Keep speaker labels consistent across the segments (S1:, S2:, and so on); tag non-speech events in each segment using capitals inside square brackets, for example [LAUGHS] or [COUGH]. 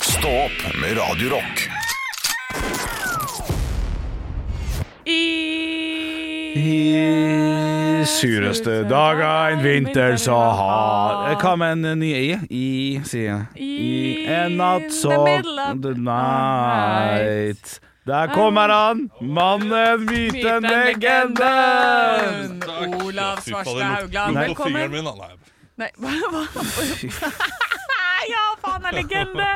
S1: Stå opp med Radio Rock.
S2: I sureste dager en vinter så hard Hva med en ny i? I, sier jeg. I en natt så
S3: the middle of
S2: The night. Der kommer han, mannen, myten, legenden.
S3: Olav
S4: Fy fader,
S3: Svarstad
S4: lukter-
S3: Haugland,
S4: lukter på
S3: velkommen.
S4: fingeren min, da. Nei.
S3: Nei, hva? hva- [LAUGHS] Ja, faen, er legende!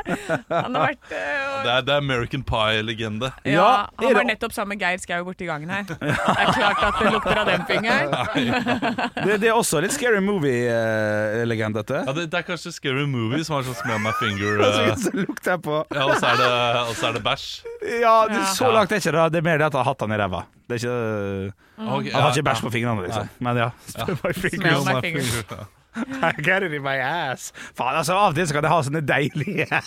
S3: Han har vært øh,
S4: Det er, det er American Pie-legende.
S3: ja,
S2: Ja,
S3: Han
S2: er
S3: var
S2: det-
S3: nettopp sammen med Geir Skau borti gangen her. Det er klart at det lukter av den fingeren.
S2: Det, det er også litt scary movie-legend, dette.
S4: Ja, det, det er kanskje Scary Movie som har sånn smell my [LAUGHS] finger eh,
S2: [LAUGHS] Så lukter jeg på
S4: Ja, og så er det, og så er det bæsj.
S2: Ja, det, så
S4: Ja.
S2: langt er ikke det. Det er mer det at jeg har hatt han i ræva. Det er ikke,
S4: Okay,
S2: han har ikke bæsj på fingrene, liksom. Men ja. [LAUGHS] My finger.
S3: Smell my finger.
S4: [LAUGHS]
S2: I got it in my ass. Faen, altså, av og til så kan det ha sånne
S3: [LAUGHS]
S2: deilige Ja,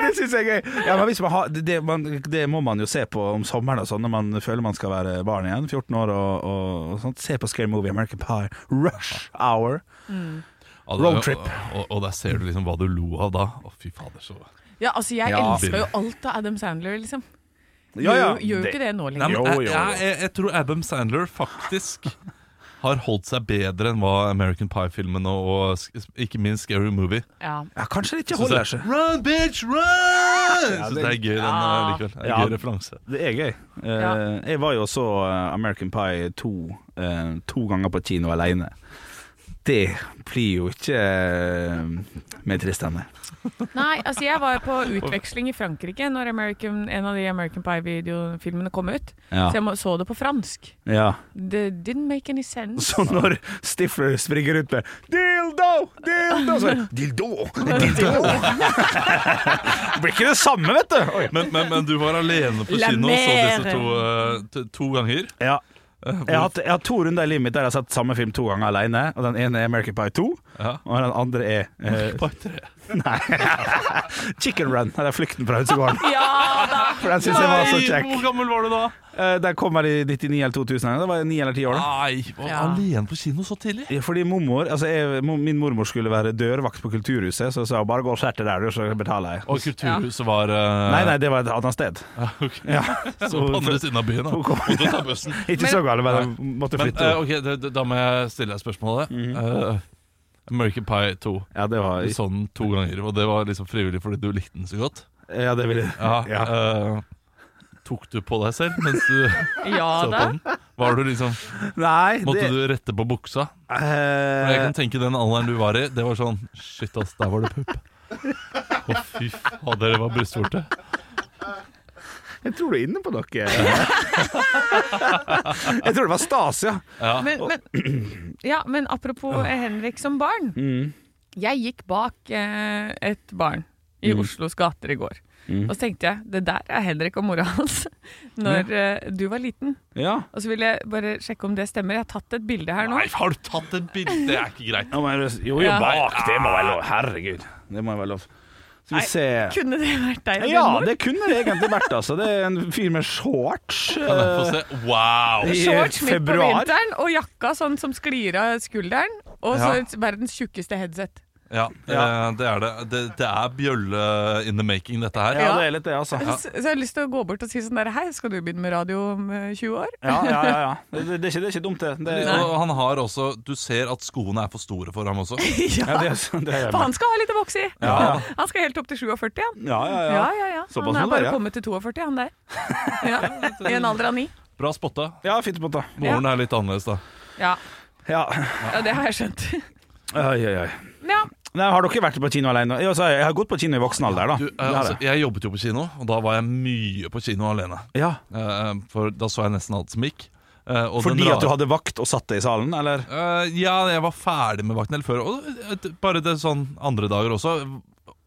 S2: det syns jeg er gøy. Ja, men hvis man har, det, det, man, det må man jo se på om sommeren og sånn, når man føler man skal være barn igjen. 14 år og, og, og sånt. Se på Scary Movie, American Pie, Rush Hour. Roadtrip.
S4: Og, og, og der ser du liksom hva du lo av da. Å, fy fader, så
S3: Ja, altså, jeg
S2: Ja.
S3: elsker jo alt av Adam Sandler, liksom.
S2: Ja, ja.
S3: Gjør- Gjør jo ikke det nå
S4: Nei,
S3: lenger.
S4: men,
S2: Jo, jo,
S4: jeg,
S2: jo.
S4: jeg, jeg tror Adam Sandler faktisk har holdt seg bedre enn hva American Pie-filmene og, og sk- ikke minst Scary Movie.
S3: Ja.
S2: Ja, kanskje det ikke
S4: Synes
S2: holder
S4: jeg-
S2: seg.
S4: Run, bitch, run!
S2: Ja,
S4: Jeg
S2: det-
S4: syns det er gøy, den eh, likevel. Det er en
S2: Ja.
S4: gøy referanse.
S2: Det er gøy. Eh,
S3: Ja.
S2: Jeg var jo og så eh, American Pie 2 eh, to ganger på kino alene. Det blir jo ikke eh, mer trist enn det.
S3: Nei, altså jeg var på utveksling i Frankrike når American, en av de American Pie-videofilmene kom ut.
S2: Ja.
S3: Så jeg må, så det på fransk.
S2: Ja.
S3: Det didn't make any sense.
S2: [LAUGHS] Så når Stifler springer rundt med 'dildo, dildo' så er det, Dildo,
S4: [LAUGHS]
S2: dildo Det blir ikke det samme, vet du. Oi.
S4: Men, men, men du var alene på
S3: La
S4: kino og så
S3: mer.
S4: disse to, eh, t- to ganger.
S2: Ja. Jeg har, hatt, jeg har to runder i livet mitt der jeg har sett samme film to ganger alene. Og den ene er American Pie 2,
S4: Ja.
S2: og den andre er eh,
S4: Bare tre.
S2: [LAUGHS] Nei. Chicken Run. Eller Flukten fra hønsegården.
S3: Ja da!
S2: For den syns jeg var så
S4: Nei,
S2: kjekk.
S4: Hvor gammel var du da?
S2: Eh, Den kom her i 99 eller 2000. Det var 9 eller 10 år, da.
S4: Nei, var
S3: Ja.
S4: alene på kino så tidlig?
S2: Ja, Fordi mormor, altså jeg, mo- Min mormor skulle være dørvakt på Kulturhuset, så jeg sa hun bare gå og sett det der, du, så betaler jeg.
S4: Og Kulturhuset var eh,
S2: Nei,
S4: [LAUGHS]
S2: nei, det var et annet sted. Ja,
S4: Så på andre siden av byen. Da.
S2: Hun kom-
S4: Måtte ta bussen.
S2: Ikke så gale, men jeg måtte
S4: Men
S2: flytte.
S4: eh, ok, det, det, da må jeg stille deg spørsmålet.
S2: Mhm.
S4: Eh, American Pie 2.
S2: ja, det var
S4: Du så den to ganger, og det var liksom frivillig fordi du likte den så godt.
S2: Ja, det ville
S4: Ja,
S2: [LAUGHS] Ja.
S4: eh, tok du på deg selv mens
S2: [LAUGHS]
S4: du
S3: Ja
S4: så
S3: da.
S4: på den? Var du liksom,
S2: Nei,
S4: måtte
S2: det
S4: du rette på buksa? For jeg
S2: eh,
S4: kan tenke den alderen du var i, det var sånn Shit, ass, der var det pupp. Å, fy fader, det var brystvorte.
S2: Jeg tror du er inne på noe. [LAUGHS] jeg tror det var stas, ja.
S4: Ja.
S3: Men, men, ja, men apropos eh, Henrik som barn.
S2: Mm.
S3: Jeg gikk bak eh, et barn i
S2: Mm.
S3: Oslos gater i går. Og så tenkte jeg det der er Henrik og mora hans
S2: Mm.
S3: når eh, du var liten.
S2: ja.
S3: Og så ville jeg bare sjekke om det stemmer. Jeg har tatt et bilde her nå.
S4: Nei, har du tatt et bilde? Det er ikke greit.
S2: Ja, men, jo, jo,
S3: Ja.
S2: bak. Det må være lov. Herregud. Det må være lov. Skal
S3: Nei,
S2: vi se
S3: Kunne det vært deg?
S2: Ja,
S3: Bjørnmor?
S2: det kunne det egentlig vært, altså. Det er en fyr med shorts.
S4: Kan jeg
S2: eh,
S4: få se? Wow!
S2: i
S3: Shorts midt på
S2: februar.
S3: vinteren og jakka sånn som sklir av skulderen. Og så
S4: Ja.
S3: et verdens tjukkeste headset.
S4: Ja, eh, det er det. det. Det er bjølle in the making, dette her.
S2: Ja, det er litt det, altså. Ja,
S3: Så, så jeg har lyst til å gå bort og si sånn der Hei, skal du begynne med radio om eh, 20 år? [LAUGHS]
S2: ja, ja. ja. Det, det, er ikke, det er ikke dumt, det. det ja,
S4: Og han har også Du ser at skoene er for store for ham også.
S3: ja.
S2: det, er- det er
S3: For han skal ha litt å vokse i.
S2: Ja.
S3: [LAUGHS] Han skal helt opp til 47, han.
S2: ja,
S3: Ja,
S2: ja, ja.
S3: ja, ja.
S2: Såpass
S3: han
S2: nå,
S3: er bare
S2: ja.
S3: kommet til 42, han der. Ja. I en alder av ni.
S4: Bra spotta.
S2: Ja, fint på det.
S4: Moren er litt annerledes, da.
S3: Ja.
S2: Ja.
S3: ja, det har jeg skjønt. [LAUGHS]
S2: Oi, oi, oi.
S3: Ja.
S2: Nei, har dere vært på kino alene? Jo, så jeg har gått på kino i voksen alder, da.
S4: Du, eh,
S2: Det har
S4: altså,
S2: jeg.
S4: jeg jobbet jo på kino, og da var jeg mye på kino alene.
S2: ja.
S4: Eh, For da så jeg nesten alt som gikk. Eh, og den
S2: Fordi
S4: rare-
S2: at du hadde vakt og satt deg i salen, eller?
S4: Eh, ja, jeg var ferdig med vakten helt før. Og eh, t- bare det sånn andre dager også.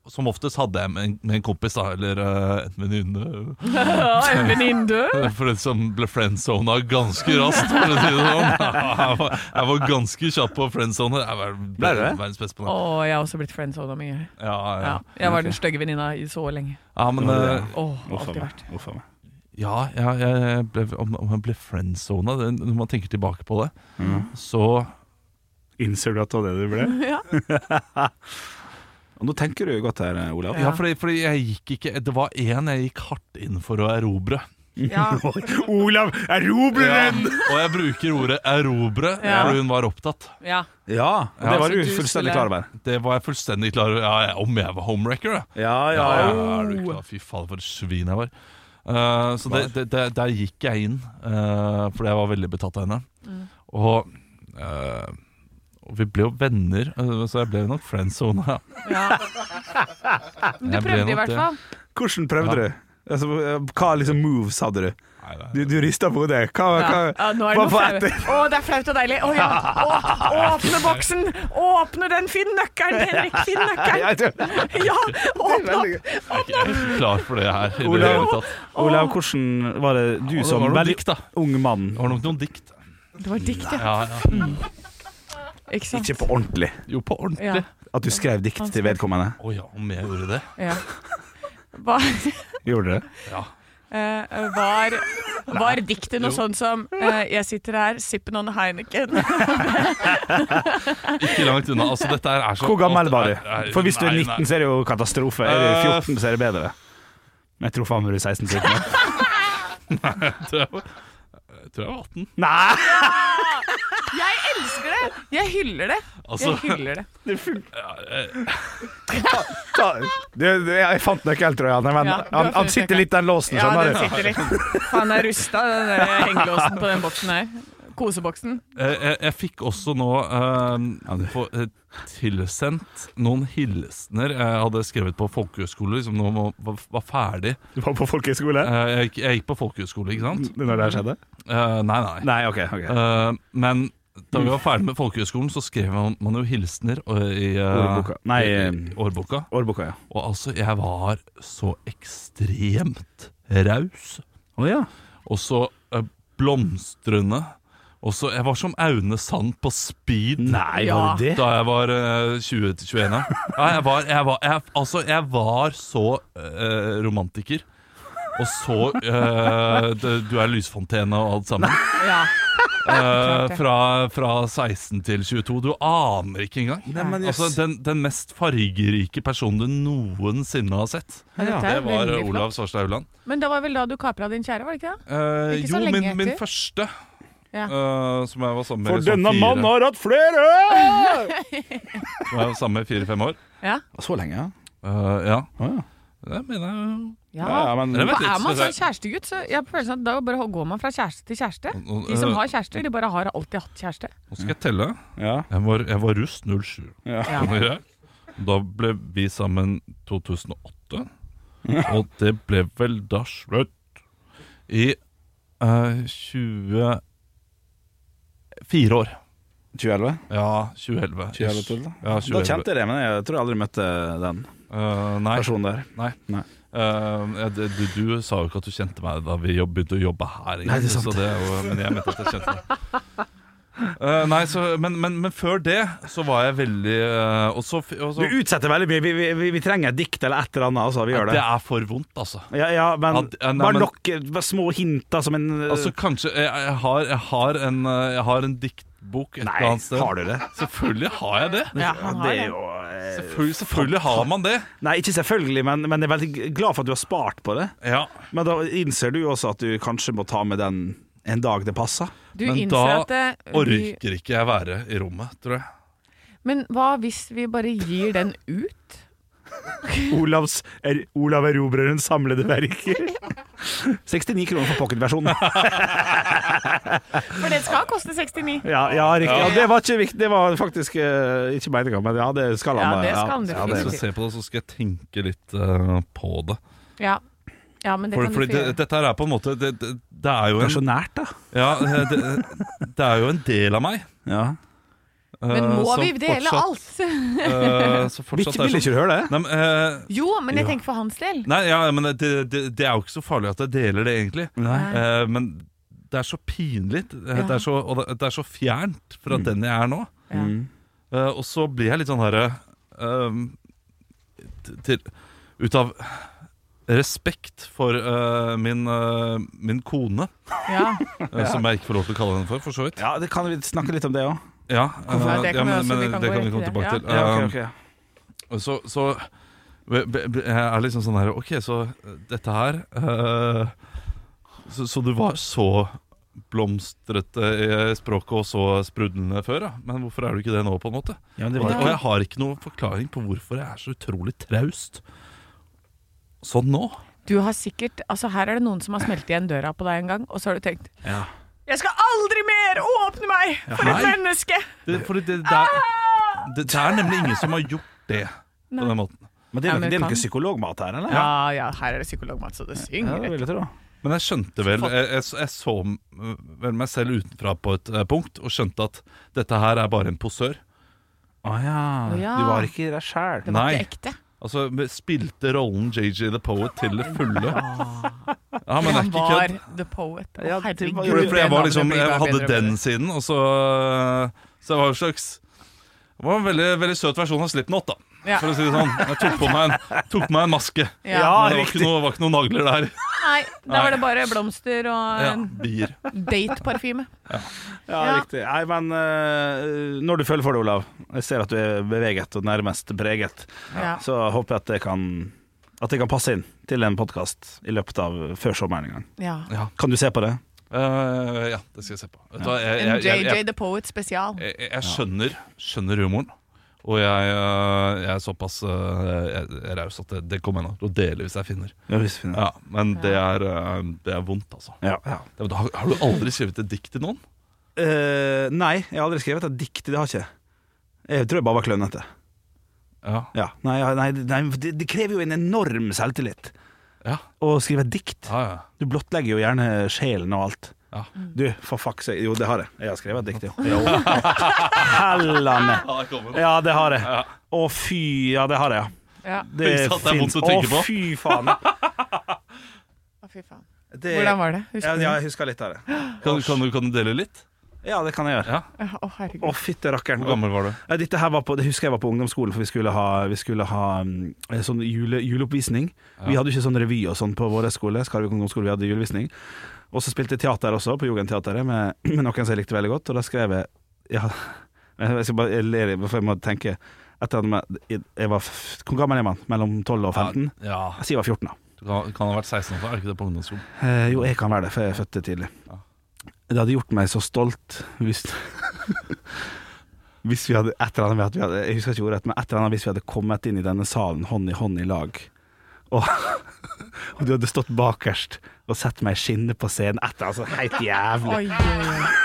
S4: Som oftest hadde jeg med en, med en kompis, da, eller eh, en venninne.
S3: Ja, en venninne død.
S4: eh, For en som ble friendzona ganske raskt. For å si det sånn.
S2: [LAUGHS]
S4: jeg, var, jeg var ganske kjapp på friendzone. Jeg var
S2: Ble du det?
S4: verdens beste
S3: Å,
S4: på det.
S3: jeg har også blitt friendzona mye.
S4: Ja, ja.
S3: Ja. Jeg var den stygge venninna i så lenge.
S4: ja, men eh,
S3: Å,
S2: Uff a
S3: alltid
S2: meg.
S3: vært. [LAUGHS]
S2: Uff a meg.
S4: ja, ja, jeg ble, om, om jeg ble friendzona det- Når man tenker tilbake på det, så
S2: Mm. Innser du at det var det du ble?
S3: Ja.
S2: Og nå tenker du jo godt her, eh, Olav. [LAUGHS]
S4: Ja, fordi, fordi jeg gikk ikke Det var én jeg gikk hardt inn for å erobre.
S3: Ja.
S2: Olav erobrer den!
S4: Og jeg bruker ordet 'erobre',
S3: Ja.
S4: for hun var opptatt.
S3: ja.
S2: Ja, og det
S4: Ja,
S2: var
S3: så
S2: du
S3: du
S2: fullstendig
S3: skulle-
S2: klar over.
S4: Det var jeg fullstendig klar over. Ja, jeg, om jeg var homewrecker, da.
S2: Ja, ja,
S4: Ja,
S2: ja.
S4: er du klar? Fy faen, for et svin jeg var. Eh, så det, det, det, der gikk jeg inn, eh, fordi jeg var veldig betatt av henne.
S2: Mm.
S4: Og, eh, og vi ble jo venner, eh, så jeg ble nok friendzona.
S3: ja. Men
S4: Jeg
S3: du
S4: ble
S3: prøvde i
S4: nok
S3: hvert
S4: det.
S3: fall.
S2: Hvordan prøvde
S4: Ja.
S2: du? Altså, hva liksom moves hadde du?
S4: Nei, nei,
S2: Du, du rista på hodet. Hva, hva,
S3: Ja. Ja, nå er det
S2: hva
S3: noe
S2: for
S3: flaut.
S2: etter?
S3: Å, det er flaut og deilig. Å ja. Å, åpne boksen! Åpne den! Finn nøkkelen, Henrik! Finn
S2: Ja,
S3: nøkkelen!
S2: du-
S3: Ja! Åpne opp!
S2: veldig gøy.
S4: Jeg er ikke klar for det her i det
S2: Olav.
S4: hele tatt.
S2: Olav, hvordan var det du
S4: Ja, det
S2: som
S4: var noe
S2: veldig
S4: dikt, da.
S2: ung mann
S4: Det var nok noen dikt.
S3: Det var dikt, ja.
S4: Ja, ja.
S3: Ikke sant?
S2: Ikke på ordentlig.
S4: Jo, på
S3: Ja.
S4: ordentlig.
S2: At du skrev dikt til vedkommende.
S4: Å ja, om jeg gjorde det.
S3: ja. Var,
S2: Gjorde du det?
S4: Ja.
S3: eh, var, var diktet noe
S4: Jo.
S3: sånn som eh, 'Jeg sitter her, sippen on Heineken'?
S4: Ikke langt unna. Altså, dette her er så
S2: Hvor gammel var du?
S4: Nei, nei,
S2: For hvis du er
S4: nei,
S2: 19, så er det jo katastrofe. Er
S4: Eh,
S2: du 14, så er det bedre. Men jeg tror faen meg du er
S4: [LAUGHS]
S2: 16-17.
S4: Jeg tror jeg var- jeg tror jeg var 18.
S2: Nei!
S3: Jeg elsker det! Jeg hyller det.
S4: Altså, eh,
S3: Jeg hyller det.
S4: [LAUGHS]
S2: Ta- Du, du, jeg fant nøkkelen, tror
S3: Ja,
S2: jeg. Men han,
S3: du har
S2: han, han
S3: funnet
S2: sitter litt den låsen,
S3: Ja,
S2: skjønner
S3: den
S2: du.
S3: sitter litt. Faen, jeg rusta den der hengelåsen på den boksen her. Koseboksen.
S4: jeg, eh, jeg, jeg fikk også nå eh,
S2: Ja, du-
S4: få, eh, tilsendt noen hilsener jeg hadde skrevet på folkehøyskole, som nå må- var, var ferdig.
S2: Du var på folkehøyskole
S4: Eh, jeg, gikk- jeg gikk på folkehøyskole, ikke sant?
S2: når det her skjedde?
S4: Eh, nei, nei.
S2: Mm. Nei, OK. ok
S4: Eh, men da vi var ferdig med folkehøyskolen, så skrev man, man jo hilsener eh, i, eh,
S2: Ordboka. Nei,
S4: i,
S2: eh,
S4: i årboka.
S2: Årboka, ja.
S4: Og altså, jeg var så ekstremt raus.
S2: Å ja.
S4: Og så eh, blomstrende. Og så Jeg var som Aune Sand på speed.
S2: Nei,
S3: Ja.
S2: var det det?
S4: Da jeg var eh, 20 til 21 ja. ja, jeg var, jeg var, jeg, Altså, jeg var så eh, romantiker Og så eh, det, Du er lysfontene og alt sammen
S3: Ja.
S4: Eh, fra, fra 16 til 22 Du aner ikke engang
S2: Nei, men jøss.
S4: Altså, den, den mest fargerike personen du noensinne har sett
S3: Ja, dette
S4: Det
S3: er
S4: var eh,
S3: veldig flott.
S4: Olav Svarstad Auland
S3: Men det var vel da du kapra din kjære, var det ikke det?
S4: Eh,
S3: Ikke så
S4: Jo,
S3: lenge
S4: min, min
S3: etter.
S4: første
S3: Ja.
S4: eh, Som jeg var sammen med
S2: For
S4: i sånn
S2: denne
S4: fire-
S2: mannen har hatt flere!
S4: som Jeg var sammen med i fire-fem år
S3: Ja.
S2: Så lenge, ja.
S4: Eh, Ja,
S2: Å, ja.
S4: det mener jeg jo
S3: ja.
S2: Ja, ja, men
S3: For
S4: Eller vent litt,
S3: er man
S4: så-
S3: sånn kjærestegutt, så jeg har følelsen at da bare går man fra kjæreste til kjæreste.
S4: Nå- eh, nå-
S3: De som har kjærester, de bare har alltid hatt kjæreste.
S4: Nå skal jeg telle.
S2: ja.
S4: Jeg var, jeg var russ 07.
S2: Ja.
S3: Ja.
S4: Skjønner jeg? Da ble vi sammen 2008. Og det ble vel da slutt i eh, 24 år.
S2: 2011?
S4: Ja, 2011.
S2: 2011 da?
S4: Ja, 2011.
S2: Da kjente jeg det, men jeg tror jeg aldri møtte den
S4: Eh, nei.
S2: personen der.
S4: nei.
S2: Nei.
S4: Eh, jeg- du, du sa jo ikke at du kjente meg da vi jobb- begynte å jobbe her. egentlig,
S2: Nei, det er sant.
S4: Så det, er jo- men jeg mente at jeg kjente deg. Eh, nei, så, men, men, men før det så var jeg veldig eh, og så, og
S2: Du
S4: så,
S2: utsetter veldig mye. Vi, vi, vi, vi trenger et dikt eller et eller annet. Altså, vi gjør
S4: Det
S2: det.
S4: er for vondt, altså.
S2: Ja, ja, men
S4: Ja, det- ja, nei,
S2: bare
S4: men-
S2: nok eh, bare små hint, da, som en eh,
S4: Altså kanskje Jeg, jeg, har, jeg, har, en, eh, jeg har en diktbok et
S2: Nei,
S4: eller annet sted.
S2: har du det?
S4: Selvfølgelig har jeg det!
S3: Ja,
S2: Ja,
S3: han
S2: det
S3: har
S2: er
S3: det.
S2: jo eh,
S4: Selvfølgelig, selvfølgelig har man det!
S2: Nei, ikke selvfølgelig, men, men jeg er veldig glad for at du har spart på det.
S4: Ja.
S2: Men da innser du jo også at du kanskje må ta med den en dag det passer.
S3: Du
S4: Men
S3: innser
S4: da
S3: at eh, vi-
S4: Orker ikke jeg være i rommet, tror jeg.
S3: Men hva hvis vi bare gir den ut?
S2: Olavs, er, Olav erobrerens samlede [LAUGHS] verker. 69 kroner for pocketversjonen.
S3: For det skal koste 69.
S2: Ja, ja, riktig. Ja, det var ikke viktig. Det var faktisk eh, ikke meninga, men ja, det skal han
S3: Ja,
S2: da.
S3: det skal han
S2: ja, det-
S4: Hvis jeg ser på det, så skal jeg tenke litt eh, på det.
S3: Ja, ja men det
S4: For,
S3: kan
S4: fordi
S3: du få
S4: det,
S3: gjøre.
S4: dette her er på en måte Det, det, det er jo
S2: Det
S4: en
S2: er så nært, da.
S4: Ja, eh, det, det er jo en del av meg.
S2: Ja.
S4: eh,
S3: Men må
S4: som
S3: vi dele
S4: fortsatt,
S3: alt? [LAUGHS]
S4: eh, som
S2: Vil
S4: fortsatt
S2: ikke, vil
S4: er
S2: ikke
S4: sånn.
S2: du høre det?
S4: Nei, men, eh,
S3: Jo, men jeg
S4: Ja.
S3: tenker for hans del.
S4: nei ja, men det, det, det er jo ikke så farlig at jeg deler det, egentlig.
S3: Nei.
S4: Eh, men det er så pinlig, eh,
S3: Ja.
S4: det er så, og det, det er så fjernt fra den jeg er nå.
S3: Ja.
S2: Mm.
S4: Eh, og så blir jeg litt sånn herre til, Ut av respekt for eh, min, eh, min kone,
S3: Ja.
S4: eh, som jeg ikke får lov til å kalle henne for, for så vidt.
S2: Ja, det kan vi snakke litt om det òg.
S4: Ja, eh,
S3: Ja, det kan vi også-
S4: men
S3: vi kan
S4: det
S3: gå
S4: kan vi
S3: rett
S4: komme
S3: til det.
S4: tilbake til.
S2: Um, Ja,
S4: Eh,
S2: ok, ok.
S4: Så, så be- be- be- jeg er liksom sånn her Ok, så dette her eh, så, så du var så blomstrete i språket og så sprudlende før, da. Men hvorfor er du ikke det nå, på en måte?
S2: Ja, men det
S4: Og,
S2: vet
S4: og
S2: jeg
S4: jeg har ikke noen forklaring på hvorfor jeg er så utrolig traust sånn nå.
S3: Du har sikkert, altså Her er det noen som har smelt igjen døra på deg en gang, og så har du tenkt
S2: ikke. Ja.
S3: Jeg skal aldri mer åpne meg for et
S4: nei.
S3: menneske!
S4: Det, for det, det, er, det, det er nemlig ingen som har gjort det på den måten.
S2: Men det er
S3: Ja, men
S2: jo det er jo
S3: kan-
S2: ikke psykologmat her, eller?
S3: Ja, ja, her er det psykologmat, så det
S2: Ja,
S3: synger.
S2: det vil jeg tro.
S4: Men jeg skjønte vel jeg, jeg, jeg så m- vel meg selv utenfra på et eh, punkt og skjønte at dette her er bare en posør.
S2: Å ja.
S3: Å ja.
S2: Du var ikke deg sjæl.
S3: Det var
S4: Nei.
S3: ikke ekte.
S4: Altså vi spilte rollen JJ the Poet til det fulle. Ja, men det er
S3: Han
S4: ikke
S3: var
S4: kødd.
S3: the poet. Å,
S2: Ja, det
S3: herregud,
S2: var-
S4: Fordi,
S3: det
S4: fordi jeg var
S3: navnet
S4: liksom
S3: blir
S4: Jeg
S3: bare
S4: hadde
S3: bedre og
S4: den
S3: bedre.
S4: siden, og så eh, Så jeg var en slags Det var en veldig, veldig søt versjon av Slipknot, da.
S3: Ja.
S4: For å si det sånn. Jeg tok på meg en, tok på meg en maske.
S3: Ja.
S2: Ja.
S4: det var ikke,
S2: riktig.
S4: noe, var ikke noen nagler der.
S3: Nei, da var det bare blomster og
S4: Ja,
S3: en
S4: bier.
S3: dateparfyme.
S2: Ja,
S3: Ja.
S2: riktig. Nei, men eh, når du føler for det, Olav Jeg ser at du er beveget og nærmest preget.
S3: Ja.
S2: Så håper jeg at det kan At det kan passe inn til en podkast i løpet av før sommeren en gang.
S3: Ja.
S2: Kan du se på det?
S4: Eh, ja, det skal jeg se på. Vet du hva, jeg-
S3: En
S4: jeg- jeg- jeg-
S3: JJ the Poet spesial.
S4: Jeg, jeg- jeg skjønner, skjønner humoren. Og jeg, øh, jeg er såpass øh, jeg- jeg er raus at det, det kommer jeg nå til å dele hvis jeg finner.
S2: Ja, hvis vi finner det.
S4: Ja, Men det er, øh, det er vondt, altså.
S2: Ja, ja.
S4: Det, har, har du aldri skrevet et dikt til noen?
S2: Eh, nei, jeg har aldri skrevet et dikt. Det har jeg ikke. Jeg tror jeg bare var klønete.
S4: Ja.
S2: Ja. Nei, ja, nei, nei det, det krever jo en enorm selvtillit
S4: Ja,
S2: å skrive et dikt.
S4: ja, ja.
S2: Du blottlegger jo gjerne sjelen og alt.
S4: Ja.
S3: Mm.
S2: Du, for fuck seg. Jo, det har jeg. Jeg har skrevet et dikt, jo. jo. Hellene.
S4: der kommer den.
S2: Ja, det har jeg. Å fy, ja, det har jeg, ja.
S3: Ja.
S4: Ikke sant, det er vondt
S2: finnes-
S4: å tenke
S2: Å
S4: på.
S2: fy faen. ja.
S3: Å, fy faen.
S2: Det,
S3: Hvordan var det?
S2: Ja,
S3: Husker du?
S2: ja,
S3: det?
S2: jeg husker litt av det.
S4: Kan, kan, du, kan du dele litt?
S2: Ja, det kan jeg gjøre.
S4: Ja.
S3: Ja, Å, herregud.
S2: Å, fytte rakkeren.
S4: Hvor gammel var du?
S2: Ja, Dette her var på, det husker jeg var på ungdomsskolen, for vi skulle ha, vi skulle ha mm, en sånn jule, juleoppvisning. Vi hadde jo ikke sånn revy og sånn på vår skole, Skarvik ungdomsskole, vi hadde julevisning. Og så spilte jeg teater også, på Jugendteateret, med, [CLEARS THROAT] med noen som jeg likte veldig godt, og da skrev jeg ja, [LAUGHS] Jeg skal bare jeg ler, for jeg må tenke etter at jeg- jeg var, f- Hvor gammel er man? Mellom 12 og 15?
S4: Ja,
S2: Jeg sier jeg var 14, da.
S4: Du kan, kan ha vært 16 år, er det ikke det på ungdomsskolen?
S2: Eh, jo, jeg kan være det, for jeg er født tidlig.
S4: Ja.
S2: Det hadde gjort meg så stolt hvis Hvis vi hadde et eller annet med at vi hadde, Jeg husker ikke ordet, men et eller annet hvis vi hadde kommet inn i denne salen hånd i hånd i lag. Og, og du hadde stått bakerst og sett meg skinne på scenen etter, altså helt jævlig.
S3: Oi, oi, oi.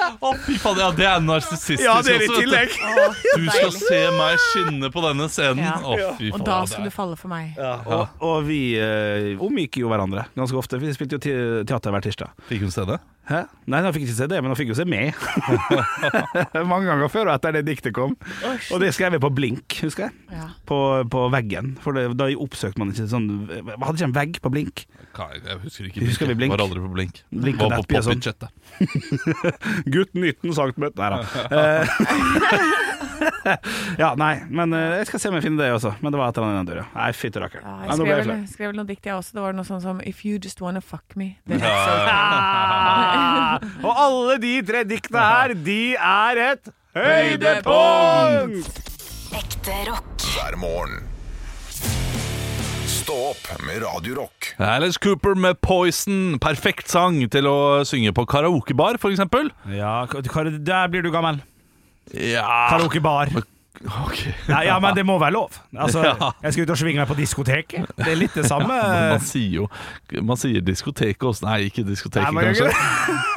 S4: Å fy faen, ja, Det er narsissistisk også, vet du.
S3: Å,
S4: Du skal
S3: deilig.
S4: se meg skinne på denne scenen.
S3: Ja.
S4: Å fy faen
S3: Og da
S4: ja, det
S3: skal
S4: er-
S3: du falle for meg.
S2: Ja, og, og vi eh, omgikk jo hverandre ganske ofte. Vi spilte jo te- teater hver tirsdag.
S4: Fikk hun se det?
S2: Hæ? Nei, han fikk ikke se det, men han fikk jo se meg. [LAUGHS] Mange ganger før og etter det diktet kom. Og det skrev jeg på blink, husker jeg.
S3: Ja.
S2: På, på veggen. For det, da oppsøkte man ikke sånn Man hadde ikke en vegg på blink.
S4: Nei, Jeg husker ikke.
S2: Husker vi blink?
S4: Var aldri på blink.
S2: Blink og
S4: var på
S2: nettby og sånn.
S4: popbudsjettet.
S2: Gutt 19 cm. Nei da. Eh, [LAUGHS] ja, nei. Men eh, jeg skal se om jeg finner det også. Men det var etter den døra. Nei, fytti rakkeren.
S3: Ja,
S2: Nei,
S3: jeg
S2: nå ble
S3: skrev
S2: jeg flau.
S3: vel, skrev vel noen dikt jeg også. Det var noe sånn som If you just wanna fuck me. Det er så-
S2: Ah, og alle de tre diktene her, de er et høydepunkt!
S5: Ekte rock.
S1: hver morgen. Stå opp med Radio Rock.
S4: Alice Cooper med Poison. Perfekt sang til å synge på karaokebar, for eksempel.
S2: Ja, k- kar- der blir du gammel.
S4: Ja
S2: Karaokebar.
S4: Ok
S2: Nei, Ah. ja, men det må være lov. [LAUGHS] Altså,
S4: Ja.
S2: Jeg skal ut og svinge meg på diskoteket. Det er litt [LAUGHS] det samme.
S4: [LAUGHS] Men man sier jo Man sier diskoteket også. Nei, ikke diskoteket,
S2: Nei, men-
S4: kanskje.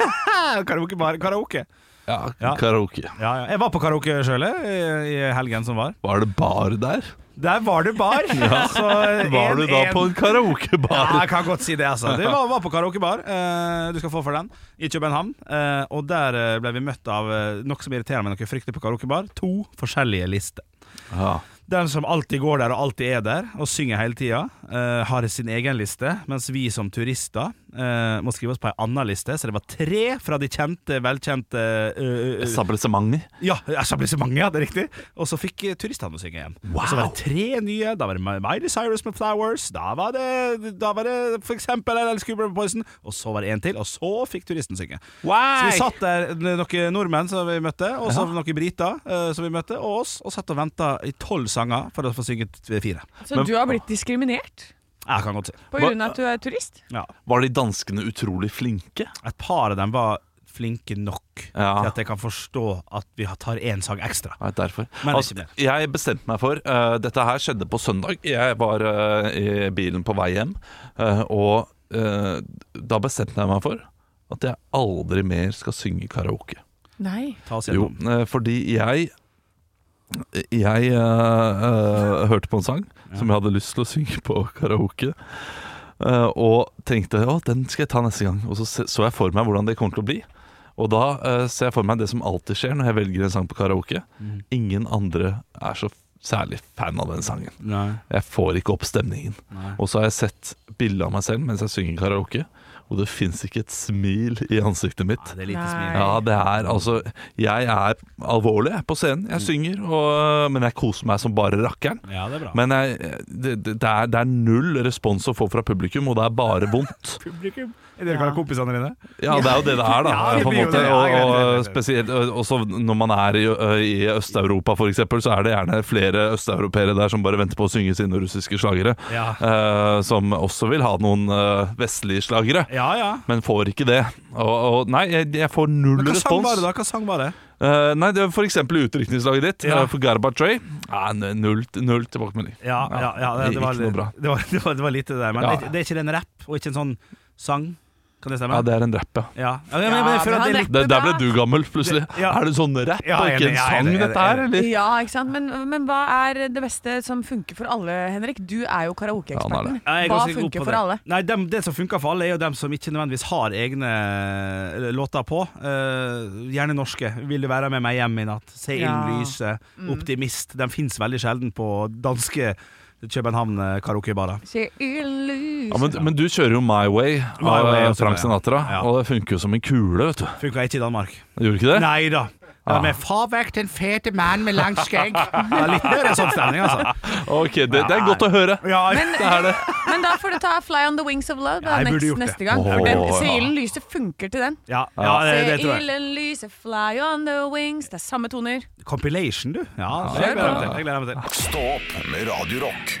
S2: Karaokebar, [LAUGHS] karaoke.
S4: Ja,
S2: Ja.
S4: Karaoke.
S2: Ja, ja. Jeg var på karaoke sjøl i i helgen som var.
S4: Var det bar der?
S2: Der var det [LAUGHS] bar. [LAUGHS] Så
S4: Var du da
S2: Eh, en-
S4: på
S2: Ja,
S4: en
S2: jeg
S4: karaokebar?
S2: kan godt si det, altså. Det var, var på karaokebar. Eh, du skal få for den. I København. Eh, og der eh, ble vi møtt av eh, noe som irriterer meg noe fryktelig på karaokebar. To forskjellige lister.
S4: Ja.
S2: Den som alltid går der og alltid er der og synger hele tida, eh, har sin egen liste, mens vi som turister eh, må skrive oss på ei anna liste, så det var tre fra de kjente, velkjente eh, eh,
S4: Establissementer.
S2: Ja, etablissementet, ja, det er riktig. Og så fikk eh, turistene å synge igjen. Og så var det tre nye. Da var det Mi- Miley Cyrus med 'Flowers'. Da var det, da var det for eksempel LL Scooper med 'Poison'. Og så var det en til, og så fikk turisten synge. Så vi satt der, det er noen nordmenn som vi møtte, og så noen briter eh, som vi møtte, og oss, og satt og venta i tolv sanger for å få synge t- fire.
S3: Så
S4: Men-
S3: du har blitt diskriminert
S2: Jeg kan godt si.
S3: på
S4: Hva-
S3: grunn av at du er turist?
S2: Ja.
S4: Var de danskene utrolig flinke?
S2: Et par av dem var flinke nok
S4: Ja.
S2: til at jeg kan forstå at vi tar én sang ekstra.
S4: Nei, derfor.
S2: Men
S4: Altså,
S2: ikke mer.
S4: jeg bestemte meg for eh, Dette her skjedde på søndag. Jeg var eh, i bilen på vei hjem, eh, og eh, da bestemte jeg meg for at jeg aldri mer skal synge karaoke.
S3: Nei.
S2: Ta oss
S4: Jo,
S2: gjennom.
S4: eh, fordi jeg Jeg eh, eh, hørte på en sang som jeg hadde lyst til å synge på karaoke. eh, og tenkte å, den skal jeg ta neste gang. Og så se- så jeg for meg hvordan det kommer til å bli. Og da eh, ser jeg for meg det som alltid skjer når jeg velger en sang på karaoke.
S2: Mm.
S4: Ingen andre er så f- særlig fan av den sangen.
S2: Nei.
S4: Jeg får ikke opp stemningen. Og så har jeg sett bilde av meg selv mens jeg synger karaoke, og det fins ikke et smil i ansiktet mitt.
S2: Ja, det er lite
S3: Nei.
S2: smil.
S4: Ja, det er altså Jeg er alvorlig jeg, på scenen. Jeg synger, og, men jeg koser meg som bare rakkeren.
S2: Ja, det er bra.
S4: Men jeg, det, det, det er, det er null respons å få fra publikum, og det er bare vondt.
S2: publikum. Er dere ja. kompisene dine?
S4: Ja, det er jo det det er, da.
S2: Ja, det
S4: på en
S2: blir jo
S4: måte.
S2: det. Ja,
S4: Og,
S2: greit, greit,
S4: og
S2: greit.
S4: spesielt og- også når man er i, ø, i Øst-Europa, f.eks., så er det gjerne flere østeuropeere der som bare venter på å synge sine russiske slagere.
S2: Ja.
S4: eh, som også vil ha noen eh, vestlige slagere,
S2: Ja, ja.
S4: men får ikke det. Og, og nei, jeg, jeg får null
S2: Men hva sang
S4: respons.
S2: var det, da? Hva sang var det?
S4: Eh, nei, det var for eksempel i utrykningslaget ditt
S2: Ja.
S4: eh, For Garbatray ja, n- null, null tilbakemelding
S2: Ja, ja, ja det, det, var,
S4: Ikke noe bra
S2: Det, var, [LAUGHS] det, var, det var lite der, men
S4: Ja.
S2: det, det er ikke en rapp og ikke en sånn sang, kan det stemme?
S4: Ja, det er en rap, ja
S2: ja. Ja, men, men, jeg
S3: Ja,
S2: føler at det
S3: men
S2: er
S3: han
S2: litt
S4: det, Der ble
S3: bra.
S4: du gammel plutselig
S2: Det- ja.
S4: Er det sånn rap
S2: Ja,
S4: og
S2: jeg
S4: ikke
S2: er enig,
S4: en
S2: jeg er
S4: sang
S2: enig, jeg er
S4: dette her,
S2: enig.
S4: eller?
S3: Ja, ikke sant? Men, men hva er det beste som funker for alle, Henrik? Du er jo
S4: Ja, han er
S3: karaokeeksperten.
S4: det.
S2: Ja, jeg er
S3: hva
S2: ganske god på
S3: funker for
S2: det.
S3: alle?
S2: Nei, dem, Det som funker for alle, er jo dem som ikke nødvendigvis har egne eh, låter på. Eh, gjerne norske. 'Vil du være med meg hjem i natt', 'Se
S3: Ja. Mm.
S2: ilden lyse', 'Optimist'. De fins veldig sjelden på danske København-karaokebarer.
S3: Se i lys.
S4: ja, men, men du kjører jo My Way
S2: My
S4: Av
S2: Way,
S4: eh,
S2: også,
S4: Frank
S2: ja.
S4: Sinatra
S2: Ja.
S4: Og det funker jo som en kule, vet du
S2: Funka ikke i Danmark.
S4: Gjorde ikke det?
S2: Nei da.
S4: Ah.
S2: Med 'Far vekk den fete mann med langt
S3: [LAUGHS]
S2: skjegg'. Det er litt mer en sånn stemning, altså.
S4: Ok, det, det er godt å høre
S2: Ja,
S4: Det er det
S3: Men da får du ta 'Fly on the wings of love' da,
S2: Ja, jeg burde
S3: nest,
S2: gjort det.
S3: neste gang.
S4: Åh,
S3: For den,
S4: ja.
S3: Se ilden lyse funker til den.
S2: ja, ja det, det tror
S3: Se
S2: jeg.
S3: ilden lyse, fly on the wings. Det er samme toner.
S2: Compilation, du? Ja, det gleder jeg meg til. Jeg gleder meg til.
S1: Stå opp med Radio Rock.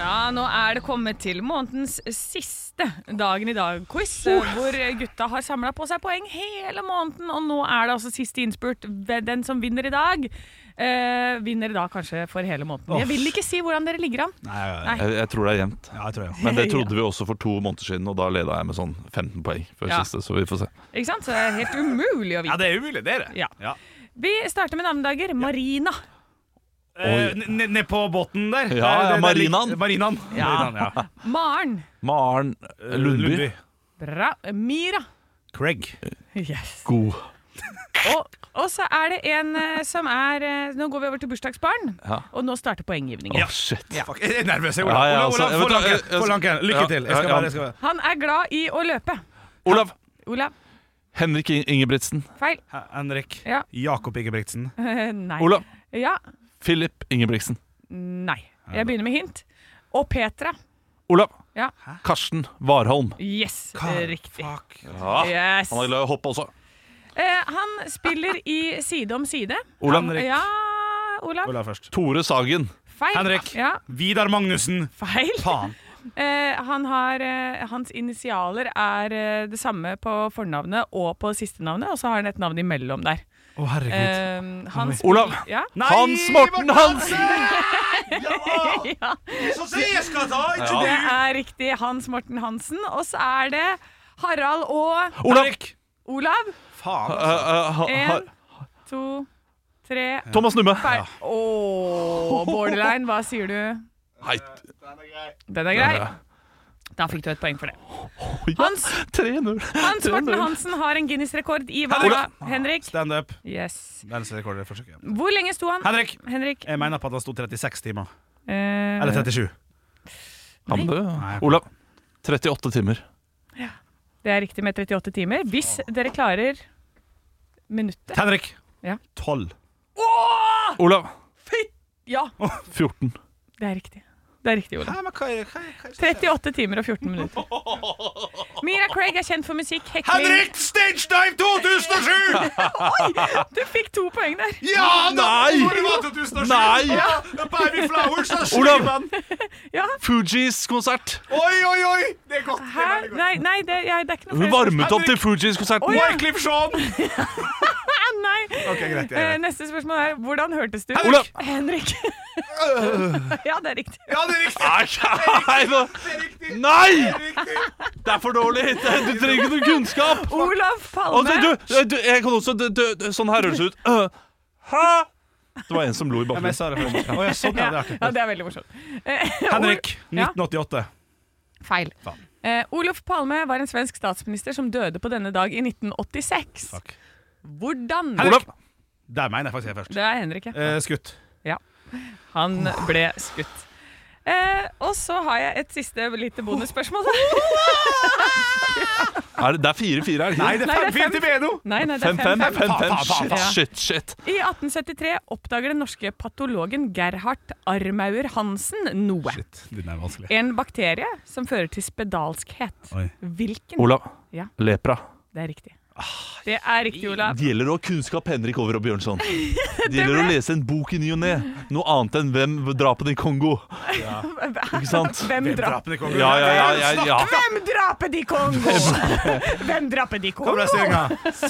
S3: Ja, nå er det kommet til månedens siste Dagen i dag-quiz, hvor gutta har samla på seg poeng hele måneden, og nå er det altså siste innspurt. Den som vinner i dag, eh, vinner da kanskje for hele måneden. Jeg vil ikke si hvordan dere ligger an.
S2: Nei, ja, ja.
S3: Nei.
S4: jeg, jeg tror det er jevnt
S2: ja, jeg tror jeg.
S4: Men det trodde vi også for to måneder siden Og da ledet jeg med sånn 15 poeng Før
S3: Ja.
S4: siste, så vi får se
S3: Ikke sant? Så det er helt umulig å
S2: Ja,
S3: vite.
S2: det er umulig, det er det.
S3: Ja.
S2: Ja.
S3: Vi starter med navnedager. Marina.
S2: Eh, n- n- Ned på båten der. Eh,
S4: Ja, ja,
S2: Der- der- der-
S4: marinaen.
S2: Marinaen.
S3: Ja.
S2: Marinaen, ja.
S3: Maren.
S4: Maren [LAUGHS] eh,
S2: Eh,
S4: Lundby
S3: Bra. Mira.
S2: Craig.
S3: Yes.
S4: God
S3: Og, og så er det en eh, som er eh, Nå går vi over til bursdagsbarn,
S4: Ja.
S3: og nå starter poengivningen.
S4: Åh, shit
S2: Fuck, jeg er nervøs. jeg,
S4: Ja, ja,
S2: Olav, Olav,
S4: altså, jeg
S2: Olav, få
S4: vet da,
S2: lanken,
S4: jeg-
S2: få lanken. Lykke
S4: ja,
S2: til. Jeg skal
S4: ja, ja.
S2: være, jeg skal være.
S3: Han er glad i å løpe.
S4: Olav
S3: Olav.
S4: Henrik In- Ingebrigtsen.
S3: Feil.
S2: He- Henrik.
S3: Ja.
S2: Jakob Ingebrigtsen.
S3: Eh, nei.
S4: Olav.
S3: Ja.
S4: Philip Ingebrigtsen.
S3: Nei. Jeg begynner med hint. Og Petra.
S4: Olav.
S3: Ja.
S4: Karsten Warholm.
S3: Yes, riktig.
S2: Fuck.
S3: Yes.
S4: Han er glad i å hoppe også.
S3: Eh, han spiller i Side om side.
S4: Olav.
S2: Henrik.
S3: Ja, Olav.
S2: Olav først.
S4: Tore Sagen.
S3: Feil.
S2: Henrik.
S3: Ja,
S2: Vidar Magnussen.
S3: feil.
S2: Faen.
S3: Eh, han har, eh, hans initialer er eh, det samme på fornavnet og på sistenavnet, og så har han et navn imellom der.
S2: Å, herregud.
S3: Eh, han spiller-
S4: Olav.
S3: Ja.
S2: Nei,
S4: Hans Morten Hansen!
S3: ja.
S2: Så sier jeg skal ta, ikke
S3: Det
S2: du!
S3: er riktig Hans Morten Hansen. Og så er det Harald og
S4: Olav.
S3: Olav.
S2: Faen.
S4: Eh, eh, ha- ha-
S3: Én, to, tre
S4: Thomas Numme.
S3: Feil. Åh, borderline, hva sier du?
S4: Hei.
S3: Den er grei. Da fikk du et poeng for det. Hans,
S4: 3-0.
S3: Hans Morten
S4: 3-0.
S3: Hansen har en Guinness-rekord i hva?
S2: Ola.
S3: Henrik?
S2: Standup.
S3: Yes.
S2: Hvor
S3: Hvor lenge sto han?
S2: Henrik!
S3: Henrik?
S2: Jeg mener på at han sto 36 timer.
S3: eh,
S2: Eller 37.
S4: Han døde.
S2: Nei.
S4: Olav, 38 timer.
S3: det er riktig med 38 timer. Hvis dere klarer minuttet
S2: Henrik!
S3: Ja.
S2: 12.
S4: Olav,
S3: Ja,
S4: 14.
S3: det er riktig. Det er riktig, Ola.
S2: Nei, men hva er, hva er, hva er
S3: 38 timer og 14 minutter. Mira Craig er kjent for musikk, hekling
S2: Henrik Stage Dive 2007! [LAUGHS]
S3: Du fikk to poeng der.
S2: Ja da!
S4: Nei!
S2: Hvor var 2007?
S4: Nei!
S2: Ja, Baby Flowers da,
S4: Olav!
S2: skiven.
S4: Fugees konsert.
S2: Oi, oi, oi! Det er godt.
S3: Hæ? Nei, nei det, jeg, det er ikke noe
S4: Hun
S3: flere spørsmål.
S4: varmet opp til Fugees konsert.
S3: Å, ja.
S2: Wycliffe Jean!
S3: Ah, Nei.
S2: Ok, greit, jeg
S3: Eh,
S2: er med.
S3: Neste spørsmål er hvordan hørtes du ut?
S4: Olav!
S3: [LAUGHS]
S2: [LAUGHS]
S3: Henrik. ja, det er riktig.
S2: Ja, det er riktig.
S4: Nei, nei, nå-
S2: Det er riktig.
S4: nei!
S2: Det er riktig.
S4: Det er for dårlig! Det- Du trenger ikke noe kunnskap!
S3: Olav
S4: Og du,
S3: Palme.
S4: du, du, jeg kan også du, du, du, Sånn her høres det ut. Øh, hæ? Det var en som lo i
S2: Ja, men
S4: bakgrunnen.
S2: jeg sa det for meg. Å, jeg så det,
S3: Ja,
S2: det er
S3: ja,
S2: ikke-
S3: det er veldig morsomt. Eh,
S2: Henrik,
S3: Ja.
S2: 1988.
S3: Ol- Feil.
S2: Faen.
S3: Eh, Olof Palme var en svensk statsminister som døde på denne dag i 1986.
S2: Takk.
S3: Hvordan
S4: Olav,
S2: Der mener jeg faktisk jeg først.
S3: Det er Henrik, ja.
S2: Eh, skutt.
S3: Han ble skutt. Eh, og så har jeg et siste lite bonusspørsmål.
S4: er det, det er fire-fire her.
S2: Nei, det
S3: Nei, det
S2: er
S3: er
S2: 5-4
S3: fem.
S2: til Bedo!
S3: Nei, nei, det er fem, fem.
S4: Fem-fem.
S3: faen.
S4: Shit, shit, shit.
S3: I 1873 oppdager den norske patologen Gerhard Armauer Hansen noe.
S2: Den er vanskelig.
S3: En bakterie som fører til spedalskhet.
S2: Oi.
S3: Hvilken?
S4: Olav.
S3: Ja.
S4: Lepra.
S3: Det er riktig. Det er riktig, Olav.
S4: Det gjelder å ha kunnskap, Henrik Over og Bjørnson. Det gjelder å lese en bok i ny og ne. Noe annet enn 'Hvem drapene i Kongo'? Ikke sant?
S3: Hvem drap?
S2: Drapene i kongen.
S4: Ja, ja, ja. ja, ja.
S3: Hvem drapet i Kongo? Hvem drapet i
S2: Hva
S3: Kongo?
S2: ble [LAUGHS] stillinga?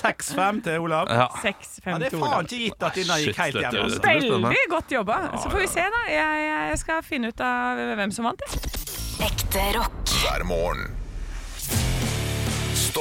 S2: 6-5 til Olav.
S4: ja.
S3: 6-5
S2: det er
S3: til
S2: faen
S3: Olav.
S2: ikke gitt at denne gikk
S4: Shit,
S2: helt
S4: dette-
S2: hjem. Altså.
S4: dette blir spennende.
S3: Veldig godt jobba. Så får vi se, da. Jeg, jeg skal finne ut av hvem som vant. jeg.
S5: Ekte rock.
S1: hver morgen. Stå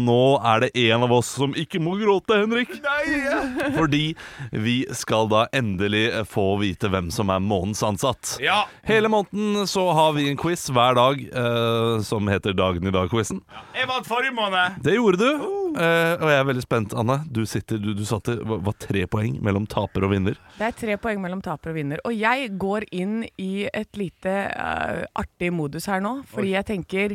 S4: Nå er det en av oss som ikke må gråte, Henrik. [LAUGHS] Fordi vi skal da endelig få vite hvem som er månedens ansatt.
S2: Ja.
S4: Hele måneden så har vi en quiz hver dag eh, som heter Dagen i dag-quizen.
S2: Jeg vant forrige måned.
S4: Det gjorde du,
S2: Oh.
S4: eh, og jeg er veldig spent, Anne. Du, sitter, du, du satte hva- var tre poeng mellom taper og vinner.
S3: Det er tre poeng mellom taper og vinner. Og jeg går inn i et lite eh, artig modus her nå, fordi jeg tenker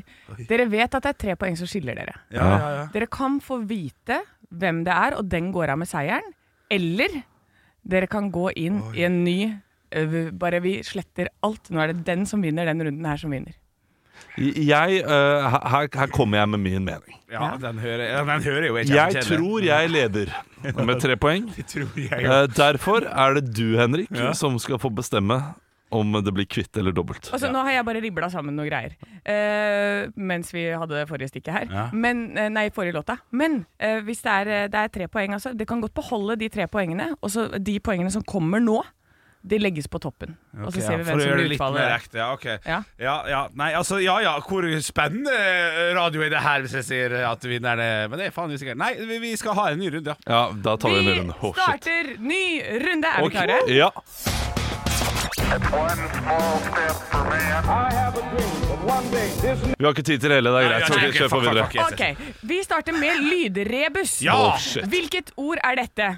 S3: Dere vet at det er tre poeng som skiller dere.
S2: Ja, ja, ja.
S3: Dere kan få vite hvem det er, og den går av med seieren. Eller dere kan gå inn i en ny eh, vi- Bare vi sletter alt. Nå er det den som vinner den runden her, som vinner.
S4: Jeg, eh, her, her kommer jeg med min mening.
S2: ja den, hører, ja, den hører jo jeg
S4: Jeg tror
S2: [LAUGHS]
S4: jeg leder med tre poeng.
S2: Jeg tror jeg
S4: Eh, Derfor er det du, Henrik, som skal få bestemme om det blir kvitt eller dobbelt.
S3: Og så Altså, Nå har jeg bare ribla sammen noen greier eh, mens vi hadde forrige stikket her.
S2: Ja.
S3: Men, eh, nei, forrige låta. Men eh, hvis det er, eh, det er tre poeng, altså. Det kan godt beholde de tre poengene. Og så de poengene som kommer nå, de legges på toppen. og så ser vi hvem som blir utfallet.
S2: Ekte, ja, ok.
S3: Ja.
S2: Ja, ja, nei, altså, ja ja, hvor spennende radio er det her hvis jeg sier at vinneren er Men det er faen usikkert. Nei, vi, vi skal ha en ny runde, ja.
S4: Ja, da tar vi en
S3: Vi
S4: runde.
S2: Oh,
S4: Å, shit.
S3: starter ny runde. Er
S4: Ok,
S3: vi klare?
S4: Ja.
S6: It's one small step for man.
S7: I have a dream that one day this
S4: Vi har ikke tid til det hele, det er greit.
S2: Nei,
S4: Ok,
S2: ok,
S4: kjør på
S2: fuck, fuck,
S4: videre.
S2: fuck, yes,
S3: Ok, Vi starter med lydrebus.
S2: Ja!
S4: Å, shit.
S3: Hvilket ord er dette?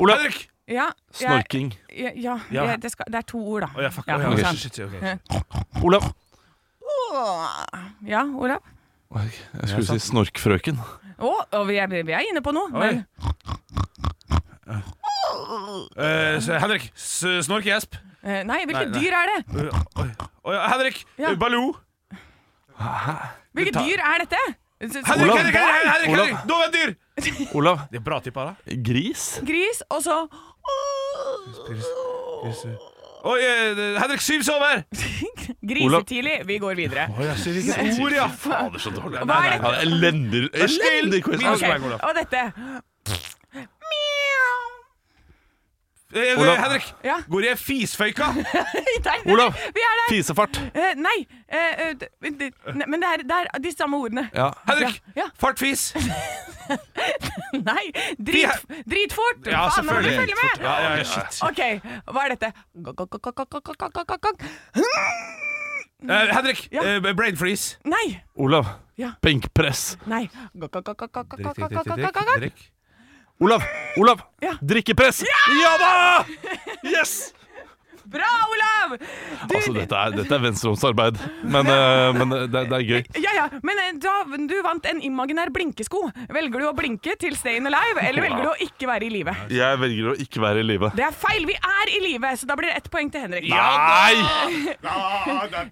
S4: Ola,
S2: Henrik!
S3: Ja, jeg-
S4: snorking.
S3: Ja, ja,
S2: Ja.
S3: Det, det, skal, det er to ord, da.
S2: Å ja, fuck.
S3: Ja,
S2: å,
S4: ok.
S2: ja,
S3: sant.
S2: shit, shit, ok.
S4: Ola.
S3: ja Olav?
S4: Oi, Jeg skulle si snorkfrøken.
S3: Å, og vi, er, vi er inne på noe.
S2: Oi.
S3: Men
S2: Eh, så Henrik, s- snorkegjesp.
S3: eh, nei, hvilket
S2: Nei, nei.
S3: dyr er det?
S2: Å ja, Henrik,
S3: Ja.
S2: eh, Baloo.
S3: Hvilket
S2: tar-
S3: dyr er dette? S- s-
S2: Henrik,
S4: Olav.
S2: Henrik, Henrik, Henrik,
S4: Olav.
S2: Henrik, dovendyr!
S4: Olav.
S2: Det er bra tippa, da.
S4: Gris?
S3: Gris, og så
S2: Oi, eh, Henrik, syv sover!
S3: Grisetidlig. Vi går videre.
S2: Ord, ja! Fader, så dårlig.
S3: Hva er
S4: Ja,
S3: dette?
S4: Elendig elendig quiz.
S2: Minus-
S3: Ok,
S2: poeng, Olav.
S3: Og dette. Mjau.
S2: Eh,
S4: Olav.
S2: Henrik,
S3: Ja.
S2: går jeg i fisføyka?
S3: Nei, nei,
S4: Olav.
S3: Vi er der.
S4: Fisefart.
S3: Eh, nei. eh, eh, d- d- ne- men det er, det er de samme ordene.
S4: Ja.
S2: Henrik,
S3: Ja, ja.
S8: [LAUGHS]
S2: fartfis.
S3: Nei. Drit, dritfort.
S2: Ja,
S3: Faen, nå må du
S2: selvfølgelig.
S3: følge med.
S2: Ja, ja, ja, shit.
S3: Ok, hva er dette? Gong, gong, gong, gong, gong, gong, gong, gong, gong.
S2: Eh, Henrik!
S8: Ja.
S2: eh, brain freeze.
S8: Nei!
S4: Olav.
S8: Ja.
S4: Benkpress.
S8: Nei.
S2: Drikk, drikk, drikk, drikk, drikk, drikk.
S4: Olav! Olav!
S8: Ja.
S4: Drikkepress! Ja da! Yes!
S8: Bra, Olav! Du,
S4: Altså, dette er, dette er venstrehåndsarbeid, men, eh, men det, det er gøy.
S8: Ja, ja, men eh, da du vant en imaginær blinkesko, velger du å blinke til Stayin' Alive, eller velger du å ikke være i live?
S4: Jeg velger å ikke være i live.
S8: Det er feil! Vi er i live, så da blir det ett poeng til Henrik.
S4: Nei!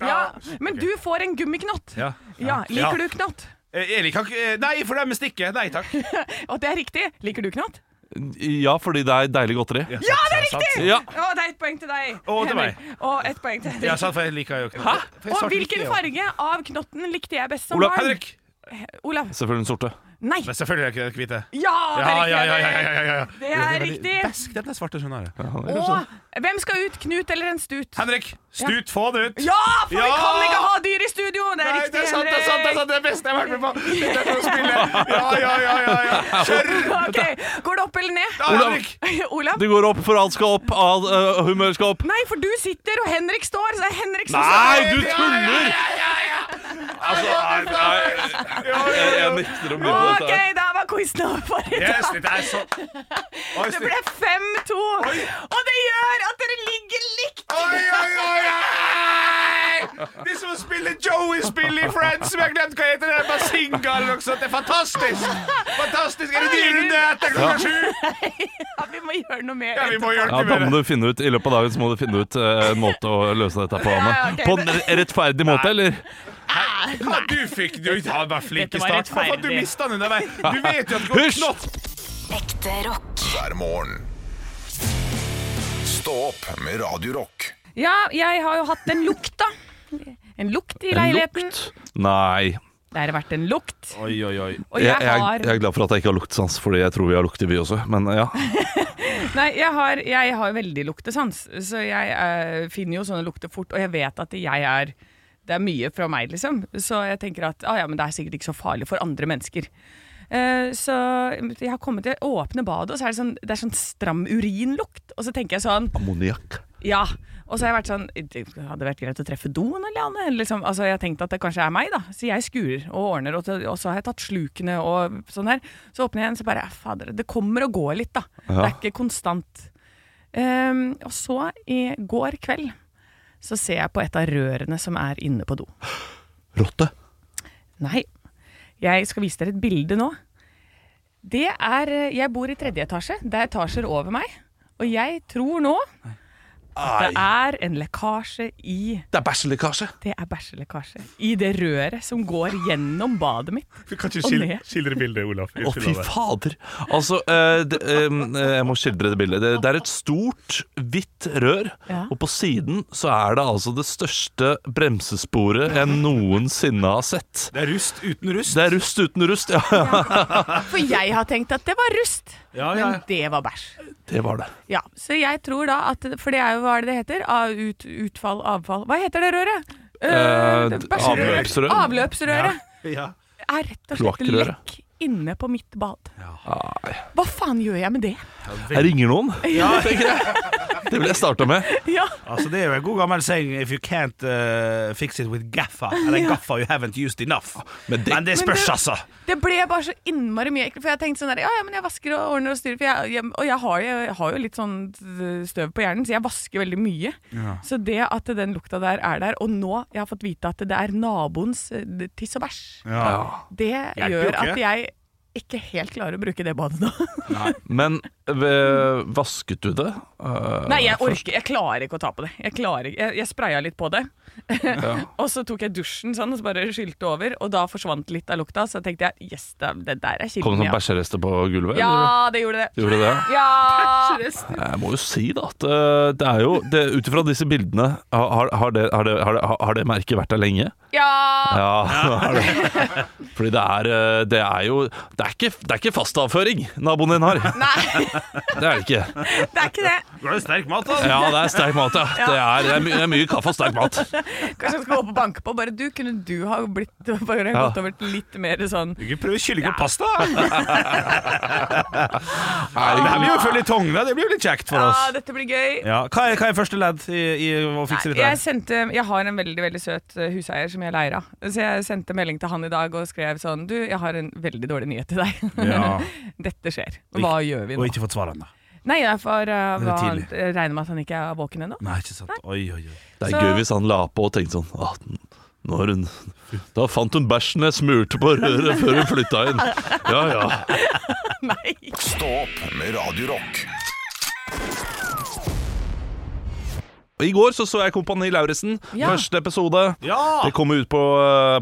S8: Ja, men du får en gummiknott.
S2: Ja.
S8: Ja,
S2: Ja.
S8: Liker du knott?
S2: Eh, Erik kan ikke eh, Nei, for det er med stikket. Nei
S8: [LAUGHS]
S2: takk.
S8: Og det er riktig. Liker du knott?
S4: Ja, fordi det er deilig godteri.
S8: Ja, det er riktig!
S4: Ja.
S8: Og det er ett poeng til deg.
S2: Og til
S8: Henrik. Og ett poeng til
S2: Ja,
S8: Henrik.
S2: sant, for jeg liker jo ikke
S4: Hæ?
S2: For jeg
S8: Og
S2: svarte
S8: hvilken
S2: ikke, ja.
S8: farge av knotten likte jeg best som
S4: Olav,
S8: barn?
S2: Henrik!
S8: Olav.
S4: Selvfølgelig den sorte.
S8: Nei!
S2: Nei, selvfølgelig er ikke det hvite.
S8: Ja, det
S2: Ja,
S8: er
S2: ja, ja,
S8: riktig.
S2: ja, ja, ja, ja.
S8: Det er
S2: veldig-
S8: riktig.
S2: Desk, den er svarte, skjønner jeg.
S8: Og hvem skal ut, Knut eller en stut?
S2: Henrik, stut, få den ut!
S8: Ja, for vi
S2: Ja!
S8: kan ikke ha dyr i studio! Det er
S2: Nei,
S8: riktig,
S2: det er sant, det er sant, det er
S8: Henrik.
S2: sant, det er det beste jeg har vært med
S8: [LAUGHS]
S2: på! Det er for å spille. Ja, ja, ja, ja, ja. Kjør!
S8: [LAUGHS] Ok, Går det opp eller ned?
S2: Ja, Henrik!
S8: [LAUGHS] Olav?
S4: Det går opp, for alt skal opp. All, eh, humør skal opp.
S8: Nei, for du sitter, og Henrik står. Så det er Henrik som
S4: Nei,
S8: står.
S4: du tuller! Altså, nei, nei. Jeg, jeg nekter å bli med på
S8: OK,
S4: dette. her.
S8: da var quizen over for i
S2: Yes,
S8: dag.
S2: dette er [LAUGHS] så Oi,
S8: Det
S2: snitt.
S8: ble 5-2. Og det gjør at dere ligger likt.
S2: Oi, oi, oi, oi! De som spiller Joey-spill i Friends, som jeg har glemt hva heter. Det er bare single eller noe sånt. Det er fantastisk! Fantastisk! Er det ny runde etter klokka sju?
S8: Ja, vi må gjøre noe mer.
S2: Ja, vi må gjøre
S4: Ja, da
S2: noe
S4: må
S2: med det.
S4: du finne ut, I løpet av dagen så må du finne ut eh, en måte å løse dette på. Anne.
S8: Ja, ja, ok.
S4: På en rettferdig måte, eller?
S2: Hva du fikk? Du har bare flink
S8: Dette
S2: i
S8: var
S2: start. Hvorfor
S8: rettferdig.
S2: du mista den underveis? Du vet jo at det går
S4: Hysj!
S2: knott!
S5: Ekte rock.
S1: hver morgen. Stå opp med Radio Rock.
S3: Ja, jeg har jo hatt en lukt, da. En lukt i
S4: En
S3: leiligheten.
S4: lukt? Nei.
S3: Det har vært en lukt.
S2: Oi, oi, oi.
S3: Og
S4: Jeg,
S3: jeg
S4: jeg,
S3: har
S4: jeg er glad for at jeg ikke har luktesans, Fordi jeg tror vi har lukt i vi også. Men ja.
S3: Nei, jeg har, jeg har veldig luktesans, så jeg eh, finner jo sånne lukter fort. Og jeg vet at jeg er Det er mye fra meg, liksom. Så jeg tenker at ah, ja, men det er sikkert ikke så farlig for andre mennesker. Eh, så jeg har kommet til å åpne badet, og så er det sånn, det er sånn stram urinlukt. Og så tenker jeg sånn
S4: Ammoniakk.
S3: Ja. Og så har jeg vært sånn Det hadde vært greit å treffe doen, eller Anne? Eller Liksom, altså, jeg har tenkt at det kanskje er meg, da. Så jeg skurer og ordner, og, til- og så har jeg tatt slukene og sånn her. Så åpner jeg den, så bare ja, Fader, det kommer og går litt, da. Det er ikke konstant. Ehm, og så, i går kveld, så ser jeg på et av rørene som er inne på do.
S4: Rotte.
S3: Nei. Jeg skal vise dere et bilde nå. Det er eh, Jeg bor i tredje etasje. Det er etasjer over meg. Og jeg tror nå at det er en lekkasje i
S4: Det er bæsjelekkasje.
S3: Det er bæsjelekkasje. I det røret som går gjennom badet mitt.
S2: Du kan ikke
S3: Og
S2: skil-
S3: ned.
S2: skildre bildet, Olaf.
S4: Å, fy fader. Altså, eh, det, eh, jeg må skildre det bildet. Det, det er et stort, hvitt rør,
S3: Ja.
S4: og på siden så er det altså det største bremsesporet jeg noensinne har sett.
S2: Det er rust uten rust.
S4: Det er rust uten rust, ja.
S3: For jeg har tenkt at det var rust,
S2: Ja, ja.
S3: men det var bæsj.
S4: Det var det.
S3: Ja, Så jeg tror da at For det er jo hva er det det heter? Av, ut, utfall, avfall Hva heter det røret? Eh, det
S4: Eh,
S3: bæsjerøret.
S4: avløpsrør.
S3: Avløpsrøret
S2: ja.
S3: er rett og slett
S4: Kloakkrøret.
S3: lekk inne på mitt bad. Hva faen gjør jeg med det? [LAUGHS]
S4: Jeg ringer noen. Ja, [LAUGHS] tenker jeg. Det ville jeg starta med.
S3: Ja,
S2: Altså, det er jo en god gammel saying If you can't uh, fix it with gaffa Eller gaffa you haven't used enough
S4: Men det-
S2: Men det spørs,
S3: Men det-
S2: altså
S3: Det ble bare så innmari mye ekkelt. For jeg tenkte sånn der, ja, ja, men jeg vasker og ordner og styrer. For jeg, jeg, og jeg har, jo- jeg har jo litt sånn støv på hjernen, så jeg vasker veldig mye. Så det at den lukta der er der, og nå jeg har fått vite at det er naboens eh, tiss og bæsj, det
S2: jo
S3: gjør
S2: ikke.
S3: at jeg ikke helt klarer å bruke det badet nå.
S4: Men eh, vasket du det? Eh,
S3: Nei, jeg
S4: først?
S3: orker, jeg klarer ikke å ta på det. Jeg, klarer, ikke- jeg, jeg spraya litt på det. [LAUGHS] og så tok jeg dusjen sånn, og så bare skylte over, og da forsvant litt av lukta. Så tenkte jeg yes, det, det der er kilden. ja.
S4: Kom det noen bæsjerester på gulvet? eller?
S3: Ja, det gjorde det.
S4: Gjorde det?
S3: Ja!
S4: Jeg må jo si da at eh, det er jo det, Ut ifra disse bildene, har, har- har, det, har, det, har, det, har det merket vært der lenge? [LAUGHS]
S3: ja! [LAUGHS]
S4: Ja, det har det. Fordi det er, eh, det er jo Det er ikke, det er ikke fastavføring naboen din har.
S8: Nei,
S3: [LAUGHS]
S4: Det er det ikke.
S8: det er ikke det.
S2: Du har jo sterk mat, da.
S4: Ja, det er sterk mat, ja. Det er, det er, my det er mye kaffe og sterk mat.
S3: Kanskje jeg skal gå opp og banke på. Bare du, kunne du ha blitt, bare
S4: Ja.
S3: gått over til litt mer sånn
S2: Du kan ikke prøve kylling og pasta. [LAUGHS] det her blir jo føljetong, da. Det blir jo litt kjekt for
S3: ah,
S2: oss.
S3: dette blir gøy.
S2: Ja, hva, er, hva er første ledd i, i å fikse
S3: Nei,
S2: dette?
S3: jeg, sendte, jeg har en veldig veldig søt eh, huseier som jeg leier av. Så jeg sendte melding til han i dag og skrev sånn Du, jeg har en veldig dårlig nyhet til deg.
S2: Ja.
S3: Dette skjer. Hva gjør [LAUGHS] vi
S2: Og
S3: nå?
S2: ikke fått svar ennå.
S3: Nei, jeg får, eh,
S2: Det er
S3: hva, han,
S2: tidlig.
S3: jeg regner med at han ikke er våken ennå.
S2: Nei, ikke sant. Oi, oi, oi.
S4: Det er
S3: Så-
S4: gøy hvis han la på og tenkte sånn ah, nå har hun, Da fant hun bæsjen jeg smurte på røret før hun flytta inn. Ja, ja.
S3: Nei.
S1: Stå opp med Radio Rock.
S4: I går så, så jeg Kompani Lauritzen.
S3: Ja.
S4: Første episode.
S2: Ja!
S4: Det kommer ut på,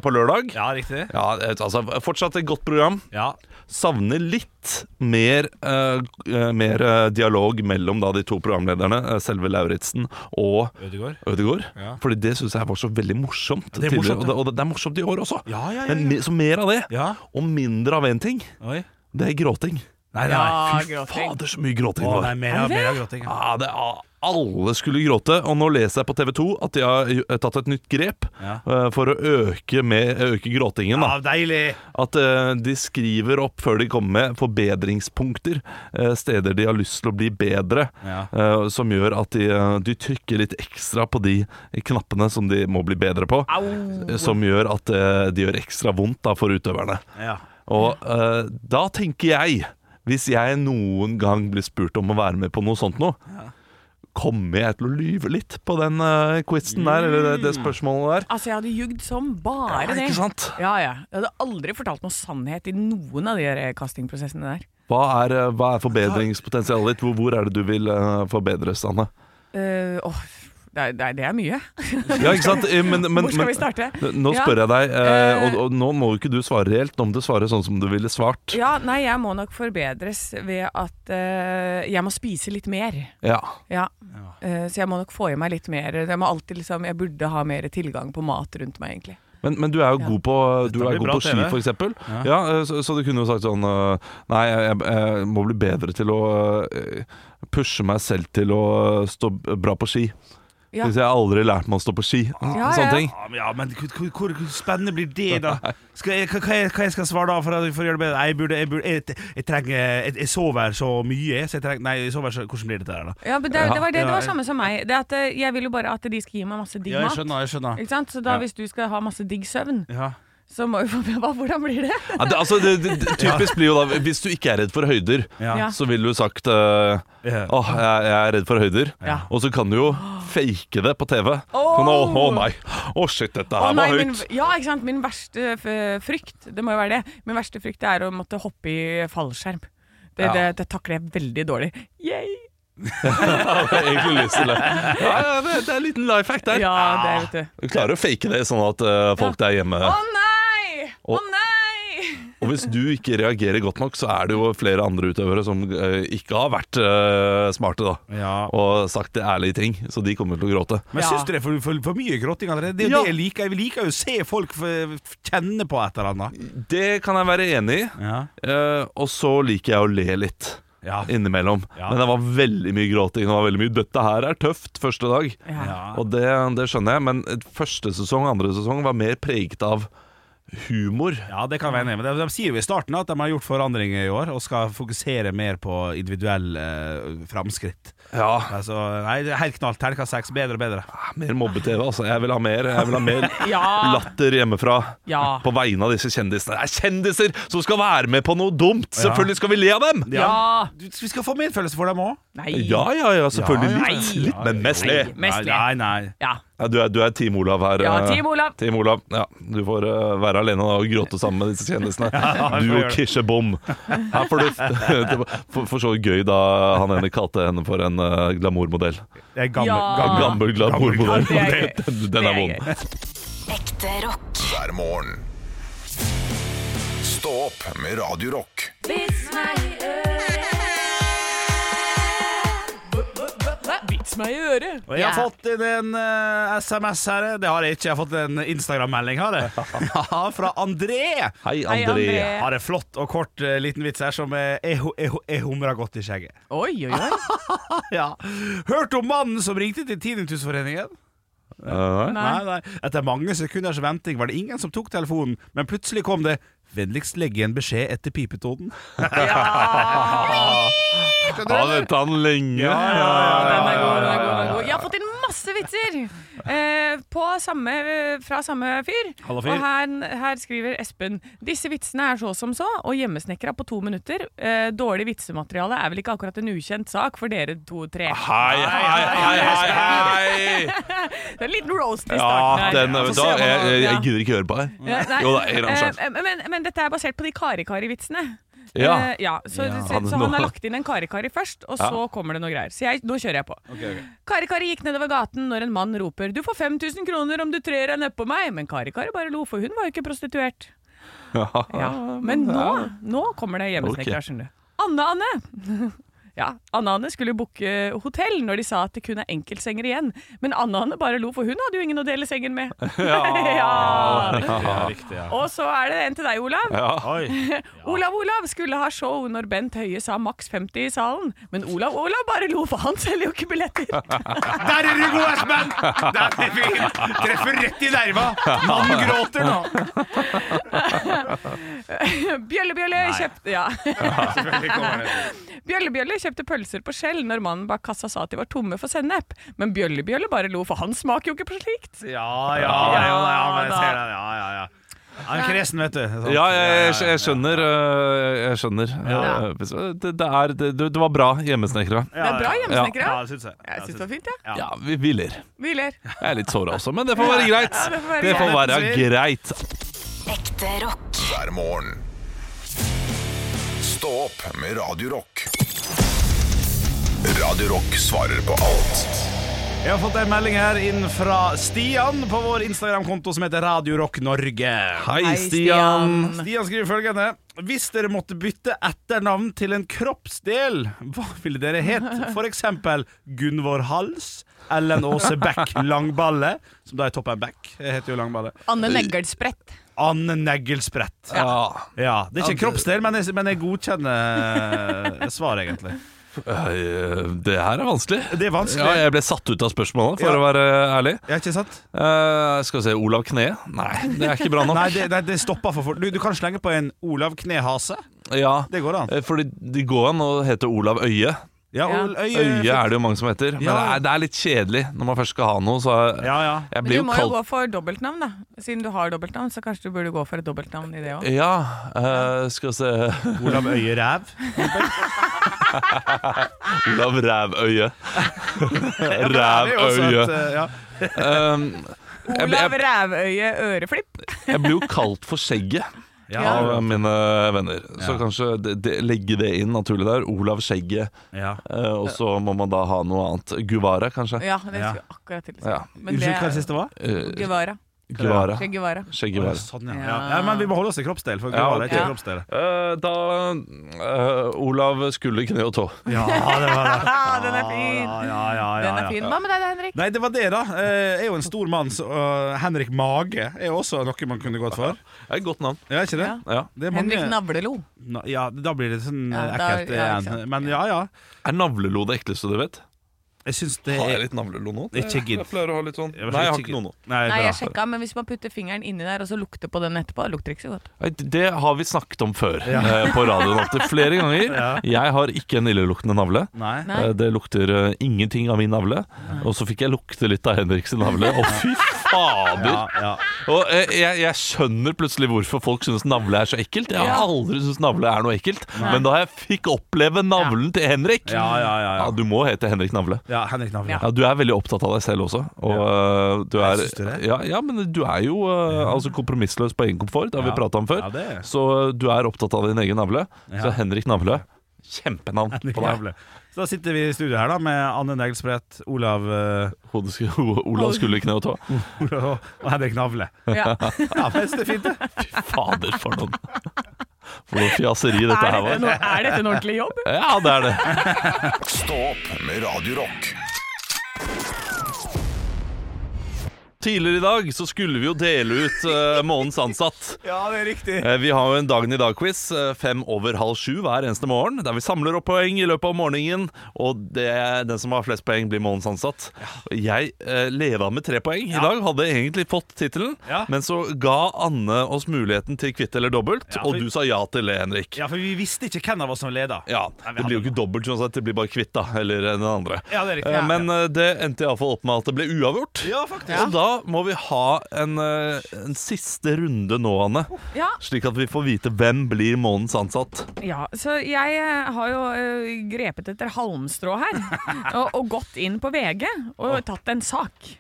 S4: på lørdag.
S2: ja, riktig.
S4: Ja, altså Fortsatt et godt program.
S2: Ja.
S4: Savner litt mer, eh, eh, mer eh, dialog mellom da, de to programlederne, eh, selve Lauritzen og
S2: Ødegaard.
S4: Ødegaard.
S2: Ja.
S4: Fordi det syns jeg var så veldig morsomt.
S2: det er
S4: tidligere,
S2: morsomt,
S4: og, det, og det er morsomt i år også.
S2: Ja, ja, ja,
S4: Men me- så mer av det,
S2: Ja.
S4: og mindre av én ting.
S2: Oi.
S4: Det er gråting.
S2: Nei, nei.
S3: Ja,
S2: Fy
S3: gråting.
S4: Fader, så mye gråting
S2: Å,
S4: det
S2: nei,
S4: var.
S2: mer av, mer av gråting. Ja.
S4: Ja, det, ah, alle skulle gråte, og nå leser jeg på TV 2 at de har jo- tatt et nytt grep
S2: Ja.
S4: eh, for å øke, med, øke gråtingen. Da.
S2: Ja, deilig!
S4: At eh, de skriver opp før de kommer med forbedringspunkter. eh, steder de har lyst til å bli bedre.
S2: Ja.
S4: eh, som gjør at de, eh, de trykker litt ekstra på de knappene som de må bli bedre på. eh, Som gjør at eh, det gjør ekstra vondt da, for utøverne.
S2: Ja.
S4: Og eh, da tenker jeg, hvis jeg noen gang blir spurt om å være med på noe sånt nå, kommer jeg til å lyve litt på den uh, quizen der, eller det, det spørsmålet der?
S3: Altså, jeg hadde jugd som bare
S4: Ja,
S3: det.
S4: ikke sant?
S3: Ja, ja. Jeg hadde aldri fortalt noe sannhet i noen av de der castingprosessene der.
S4: Hva er, eh, hva er forbedringspotensialet ditt? Hvor, hvor er det du vil eh, forbedres, Anne?
S3: Eh, åh, det, er, det er- det er mye.
S2: [LAUGHS]
S4: Ja, ikke sant? Eh, Men, men,
S3: Hvor skal
S4: men-
S3: vi starte?
S4: Nå
S3: Ja.
S4: spør jeg deg, eh, og,
S3: Eh.
S4: og nå må jo ikke du svare reelt. Nå må du svare sånn som du ville svart.
S3: Ja, nei, jeg må nok forbedres ved at eh, jeg må spise litt mer.
S4: Ja.
S3: Ja. Eh, så jeg må nok få i meg litt mer. Jeg, må alltid, liksom, jeg burde ha mer tilgang på mat rundt meg, egentlig.
S4: Men, men du er jo
S3: Ja.
S4: god på, du
S2: Dette
S4: er
S2: blir
S4: god
S2: bra
S4: på ski,
S2: TV.
S4: for eksempel. Ja. eh, så, så du kunne jo sagt sånn eh, Nei, jeg, jeg, jeg må bli bedre til å eh, pushe meg selv til å eh, stå bra på ski.
S3: Ja.
S4: Hvis jeg har aldri lært meg å stå på ski. Ah,
S3: ja,
S4: Sånne
S3: ja.
S4: ting.
S2: Ja, men, ja, men hvor, hvor- hvor, hvor spennende blir det, da? Skal jeg, hva, hva jeg- hva jeg skal svare da for, å- for å gjøre det bedre? Nei, Jeg, burde, jeg, burde, jeg, jeg trenger jeg, jeg sover så mye, så jeg trenger Nei, jeg sover så Hvordan blir dette her, da?
S3: Ja, men det,
S4: Ja.
S3: det var det, det
S2: Ja,
S3: var
S2: jeg-
S3: samme som meg. Det at, eh, jeg vil jo bare at de skal gi meg masse digg mat.
S2: jeg skjønner.
S3: Ikke sant? Så da
S2: Ja.
S3: hvis du skal ha masse digg søvn,
S2: Ja.
S3: så må vi få [LAUGHS] med hva, hvordan blir det?
S4: Ja, det, altså, det, det, typisk blir jo da Hvis du ikke er redd for høyder,
S2: Ja.
S3: Ja.
S4: så ville du sagt eh,
S2: Ja.
S4: Åh, jeg, jeg er redd for høyder.
S3: Ja.
S4: Og så kan du jo fake det på TV. Å
S3: Åh!
S4: nei! Å shit, dette
S3: Å
S4: her
S3: nei,
S4: var
S3: min,
S4: høyt. [LAUGHS]
S3: ja, ikke sant? Min verste f- frykt, det må jo være det, min verste frykt er å måtte hoppe i fallskjerm. Det,
S4: Ja.
S3: det, det takler jeg veldig dårlig. Yay!
S4: Jeg har egentlig lyst til det. Ja, ja, det, det er en liten life hack der.
S3: Ja, det vet du.
S4: Du klarer å fake det sånn at eh, folk der hjemme
S3: Å nei! Å
S4: Og-
S3: nei!
S4: Og hvis du ikke reagerer godt nok, så er det jo flere andre utøvere som eh, ikke har vært eh, smarte, da.
S2: Ja.
S4: Og sagt ærlige ting. Så de kommer til å gråte.
S2: Men
S3: Ja.
S2: syns du det er for, for, for mye gråting allerede? Det er jo
S4: Ja.
S2: det jeg liker. Jeg liker jo å se folk f- f- kjenne på et eller annet.
S4: Det kan jeg være enig i.
S2: Ja.
S4: Eh, og så liker jeg å le litt
S2: Ja.
S4: innimellom.
S2: Ja.
S4: Men det var veldig mye gråting. Det var veldig mye 'dette her er tøft' første dag.
S2: Ja.
S4: Og det, det skjønner jeg, men første sesong andre sesong var mer preget av humor.
S2: Ja, det kan være enig i. Men de, de sier jo i starten at de har gjort forandringer i år og skal fokusere mer på individuelle eh, framskritt.
S4: Ja,
S2: Altså, nei, det er helt knall. Terningkast seks. Bedre og bedre.
S4: Mer mobbe-TV, altså. Jeg vil ha mer, jeg vil ha mer
S3: Ja.
S4: latter hjemmefra.
S3: Ah. Ja.
S4: På vegne av disse kjendisene. Det er kjendiser som skal være med på noe dumt! Selvfølgelig skal vi le av dem!
S3: Ja!
S2: Du, vi skal få medfølelse for dem òg.
S3: Nei.
S4: Ja, ja, ja, selvfølgelig.
S2: Ja,
S4: Litt, litt men mest le.
S3: Mest le.
S2: Nei, nei.
S3: Ja.
S4: Ja, du, er, du er Team Olav her.
S3: Ja,
S4: eh,
S3: Team Olav.
S4: Team Olav. Ja, du får eh, være alene da, og gråte sammen med disse
S3: [LAUGHS]
S4: kjendisene.
S2: jeg
S4: Du
S2: får
S4: og
S2: gjøre det.
S4: Kirsebom. Her får du [LAUGHS] det var for, for så vidt gøy da han ene kalte henne for en eh, glamourmodell.
S2: Det er gammel,
S3: Ah. Ja.
S2: gammel.
S4: Gammel
S3: Ja,
S4: glamourmodell.
S3: det er gøy.
S4: [LAUGHS] Den,
S3: Det
S4: den
S3: er
S4: er vond.
S3: gøy.
S5: Ekte rock.
S1: hver morgen. Stå opp med Radio Rock.
S3: Vits meg i øret.
S2: Og jeg har fått inn en eh, SMS her. Det har jeg ikke. Jeg har fått en Instagram-melding. har jeg. Ja, Fra André.
S4: Hei,
S3: Hei,
S4: André.
S3: André.
S2: Har en flott og kort eh, liten vits her som eh, jeg hu- jeg hu- jeg humrer godt i skjegget.
S3: Oi, oi, oi.
S2: Ja. Hørt om mannen som ringte til Tinnitusforeningen?
S4: Eh, nei.
S2: Nei, nei. Etter mange sekunders venting var det ingen som tok telefonen, men plutselig kom det 'Vennligst legge igjen beskjed etter pipetonen'.
S4: Har venta han lenge.
S3: Ja, Ah, den er god, den er god, den er god. Jeg har fått inn masse vitser eh, på samme, fra samme fyr.
S2: Hallo, fyr.
S3: Og her, her skriver Espen Disse vitsene er så som så, og hjemmesnekra på to minutter. Eh, dårlig vitsemateriale er vel ikke akkurat en ukjent sak for dere to-tre.
S4: Hei, hei, hei, hei, hei!
S3: Det er en liten roast i starten
S4: Ja,
S3: her.
S4: den,
S3: Få
S4: da,
S3: se hva
S4: jeg,
S3: han-
S4: jeg,
S3: ja.
S4: jeg gidder ikke høre på her.
S3: Ja, nei.
S4: Jo da, jeg gir han en
S3: Eh,
S4: sjanse.
S3: eh, men, men dette er basert på de Kari-Kari-vitsene.
S4: Ja.
S3: Eh, ja. Så, så,
S4: Han-
S3: så han har
S4: nå-
S3: lagt inn en Kari-Kari først, og så kommer det noe greier. Så jeg, nå kjører jeg på. Kari-Kari gikk nedover gaten når en mann roper 'Du får 5000 kroner om du trer deg nedpå meg', men Kari-Kari bare lo, for hun var jo ikke prostituert. Ja, Men nå, nå kommer det hjemmesnekra,
S4: Ok.
S3: skjønner du. Anne-Anne. [LAUGHS] Ja, Anne-Anne skulle booke hotell når de sa at det kun er enkeltsenger igjen. Men Anne-Anne bare lo, for hun hadde jo ingen å dele sengen
S4: [LAUGHS]
S3: med. [LAUGHS] ja. Og så er det en til deg, Olav. Olav Olav skulle ha show når Bent Høie sa maks 50 i salen, men Olav Olav bare lo, for han selger jo ikke billetter.
S2: Der er du god, Espen! Der er du fin. Treffer rett i nerva. Mannen gråter nå.
S3: Bjølle Bjølle kjøpte ja. [LAUGHS] Bjølle Bjølle kjøpte pølser på skjell når mannen bak kassa sa at de var tomme for sennep, men Bjølle Bjølle bare lo, for han smaker jo ikke på slikt.
S2: Ja, ja, ja, ja, ja, men jeg ser det. ja, ja, ja. Han er kresen, vet du. Sant?
S4: Ja, jeg, jeg, jeg skjønner. øh, Jeg skjønner.
S2: Ja.
S4: Øh, Det, det, er, det, det var bra hjemmesnekra.
S3: Det er bra hjemmesnekra.
S2: Ja, det syns jeg.
S3: Jeg syns det var fint, jeg. Ja.
S4: Ja, vi, vi ler.
S3: Vi ler.
S4: Jeg er litt såra også, men det får være greit.
S3: Ja, det får være
S4: Det får
S2: greit.
S4: være greit.
S5: Ekte rock.
S1: hver morgen. Stå opp med Radio Rock. Radio Rock svarer på alt.
S2: Jeg har fått en melding her inn fra Stian på vår Instagram-konto som heter Radio Rock Norge.
S4: Hei, Stian.
S2: Stian skriver følgende Hvis dere måtte bytte etternavn til en kroppsdel, hva ville dere het? For eksempel Gunvor Hals, Ellen Åse Bæk Langballe, som da er toppen Bæk. Jeg heter jo Langballe.
S3: Anne Neglesprett.
S2: Anne Neglesprett.
S4: Ja.
S2: Ja, det er ikke en kroppsdel, men jeg, men jeg godkjenner svar, egentlig.
S4: Øh, Det her er vanskelig.
S2: Det er vanskelig.
S4: Ja, jeg ble satt ut av spørsmålet, for
S2: Ja.
S4: å være ærlig.
S2: Ja, ikke sant?
S4: Eh, skal vi se Olav Kne? Nei, det er ikke bra nok.
S2: Nei, det, nei, det stopper for fort. Du, du kan slenge på en Olav Knehase.
S4: Ja,
S2: Det går an.
S4: Eh, Fordi det går an å hete Olav Øye.
S2: Ja, Ol- Øye-
S4: Øye er det jo mange som heter. Men det
S2: Ja.
S4: er, det er litt kjedelig når man først skal ha noe. Så jeg,
S2: Ja, ja.
S4: jeg
S3: Men du
S4: blir jo
S3: må jo
S4: kalt
S3: gå for dobbeltnavn, da. Siden du har dobbeltnavn, så kanskje du burde gå for et dobbeltnavn i det òg.
S4: Ja, eh, skal vi se [LAUGHS]
S2: Olav Øyeræv.
S4: Olav
S2: [LAUGHS]
S4: Rævøye.
S2: Det er jo også
S4: Rævøye.
S2: et, eh, ja.
S4: Um, jeg,
S3: Olav
S4: jeg,
S3: Rævøye Øreflipp.
S4: jeg blir jo kalt for Skjegget av
S2: Ja.
S4: mine venner. Så
S2: Ja.
S4: kanskje det, det, legge det inn naturlig der. Olav Skjegget.
S2: Ja.
S4: eh, og så må man da ha noe annet. Guvara, kanskje.
S3: Ja, det
S2: Ja.
S3: skulle jeg akkurat til å si.
S4: Ja.
S3: Men det
S2: Unnskyld, hva det siste var?
S4: Eh,
S3: Guevara.
S4: Guvara.
S3: Che Guevara.
S2: Å,
S4: Skjeggevara.
S2: Sånn, ja. Ja. ja, men vi må holde oss til kroppsdel, for
S4: Ja,
S2: Guevara er ikke
S3: ok.
S2: kroppsdel.
S4: Eh, da eh, Olav skulle kne og tå.
S2: Ja, det var det.
S3: Ah, den er fin!
S2: [LAUGHS] Ja, ja, ja, ja,
S3: Den er
S2: ja.
S3: fin. Hva med deg da, Henrik?
S2: Nei, det var det, da. Eh, Jeg er jo en stor mann, så eh, Henrik Mage er jo også noe man kunne gått for.
S4: Det er et godt navn.
S2: Ja, ikke det?
S3: Ja.
S4: Ja.
S2: det er
S3: Henrik
S2: mange...
S3: Navlelo.
S2: Na- Ja, da blir det sånn eh,
S3: Ja, da-
S2: ekkelt
S3: ja, ikke
S2: igjen.
S3: sant.
S2: Men ja, ja.
S4: Er navlelo det ekleste du vet?
S2: Jeg syns Eh, det
S4: Har jeg
S2: er
S4: litt navlelo nå?
S2: Ikke
S4: Jeg-
S2: gidd.
S4: Jeg pleier å ha litt sånn
S2: Jeg var
S4: Nei, jeg har
S2: sikker-
S4: ikke noe nå.
S2: Nei,
S3: Nei,
S2: bra.
S3: jeg sjekka, men hvis man putter fingeren inni der og så lukter på den etterpå, det lukter ikke så
S2: [LAUGHS]
S3: godt.
S4: Nei, Det har vi snakket om før eh, på radioen opptil flere ganger.
S2: [LAUGHS] Ja.
S4: Jeg har ikke en illeluktende navle.
S2: Nei.
S3: Nei.
S4: Eh, Det lukter eh, ingenting av min navle. Og så fikk jeg lukte litt av Henriks navle, og
S2: [LAUGHS]
S4: fy fader!
S2: Ja, ja.
S4: Og eh, jeg, jeg skjønner plutselig hvorfor folk synes navle er så ekkelt. Jeg har aldri syntes navle er noe ekkelt, men da jeg fikk oppleve navlen til Henrik
S2: Ja, ja, ja, ja.
S4: Ja, Du må hete Henrik Navle.
S2: ja, Henrik Navle.
S4: Ja, Du er veldig opptatt av deg selv også. Og, øh, du er,
S2: Syns du det?
S4: Ja, ja, men du er jo øh, altså kompromissløs på egen komfort, det har
S2: Ja.
S4: vi prata om før.
S2: Ja, det er.
S4: Så øh, du er opptatt av din egen navle.
S2: Ja.
S4: Så Henrik Navle, kjempenavn
S2: Henrik
S4: på deg.
S2: Navle. Så da sitter vi i studio her da med Anne Neglesprett, Olav, eh,
S4: Hodet skulle- ho- Olav skulle kne og tå.
S2: Olav og Henrik Navle.
S3: Ja.
S2: Ja, men det er
S4: [LAUGHS]
S2: fint, det.
S4: Fader, for noen For noe fjaseri dette her
S3: Er, dette no,
S4: var.
S3: er dette en ordentlig jobb?
S4: Ja, det er det.
S1: Stå opp med Radio Rock.
S4: tidligere i dag så skulle vi jo dele ut eh, månedens ansatt.
S2: Ja, det er riktig.
S4: Eh, Vi har jo en Dagen i dag-quiz eh, fem over halv sju hver eneste morgen, der vi samler opp poeng i løpet av morgenen. Og det, den som har flest poeng, blir månedens ansatt. Jeg eh, leva med tre poeng i dag, hadde egentlig fått tittelen.
S2: Ja.
S4: Men så ga Anne oss muligheten til kvitt eller dobbelt,
S2: Ja, for-
S4: og du sa ja til det, Henrik.
S2: Ja, for vi visste ikke hvem av oss som leda.
S4: Ja, Det blir jo ikke dobbelt, sånn sett, det blir bare kvitt da, eller den andre.
S2: Ja, det er riktig.
S4: Eh,
S2: Ja.
S4: Men eh, det endte iallfall opp med at det ble uavgjort.
S2: Ja, faktisk.
S4: Så da må vi ha en, eh, en siste runde nå, Anne.
S3: [LAUGHS] Ja,
S4: Slik at vi får vite hvem blir månedens ansatt.
S3: ja, så jeg eh, har jo eh, grepet etter halmstrå
S2: [LAUGHS]
S3: her, og, og gått inn på VG og tatt en sak.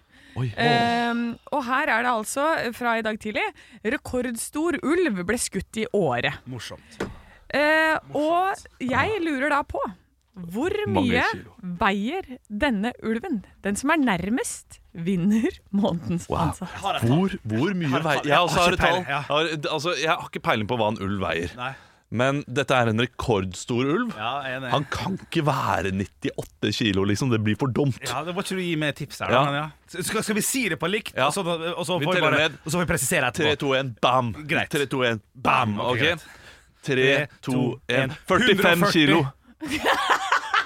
S4: Oi.
S3: Ehm, og her er det altså, fra i dag tidlig, rekordstor ulv ble skutt i året.
S2: Morsomt.
S3: Eh, og jeg lurer da på hvor
S4: Mange
S3: mye
S4: kilo.
S3: veier denne ulven? Den som er nærmest, vinner månedens ansatt.
S4: Hvor, hvor mye veier Jeg også
S2: Har
S4: har
S2: ikke
S4: et tall.
S2: peiling, ja.
S4: Jeg har, altså, jeg har ikke peiling på hva en ulv veier.
S2: Nei.
S4: Men dette er en rekordstor ulv.
S2: Ja, jeg er enig.
S4: Han kan ikke være 98 kilo, liksom. Det blir for dumt.
S2: Ja, det må ikke du gi meg tips her.
S4: Ja.
S2: Da, men ja. Skal, skal vi si det på likt,
S4: Ja.
S2: og, så, og, så
S4: Vi
S2: får vi
S4: teller
S2: bare,
S4: ned.
S2: og så får vi presisere
S4: 3,
S2: etterpå?
S4: 2, 1, bam!
S2: Greit.
S4: 3, 2, 1, bam!
S2: Ok,
S4: OK?
S2: greit.
S4: 3, 2, 1 45
S2: 140.
S4: kilo.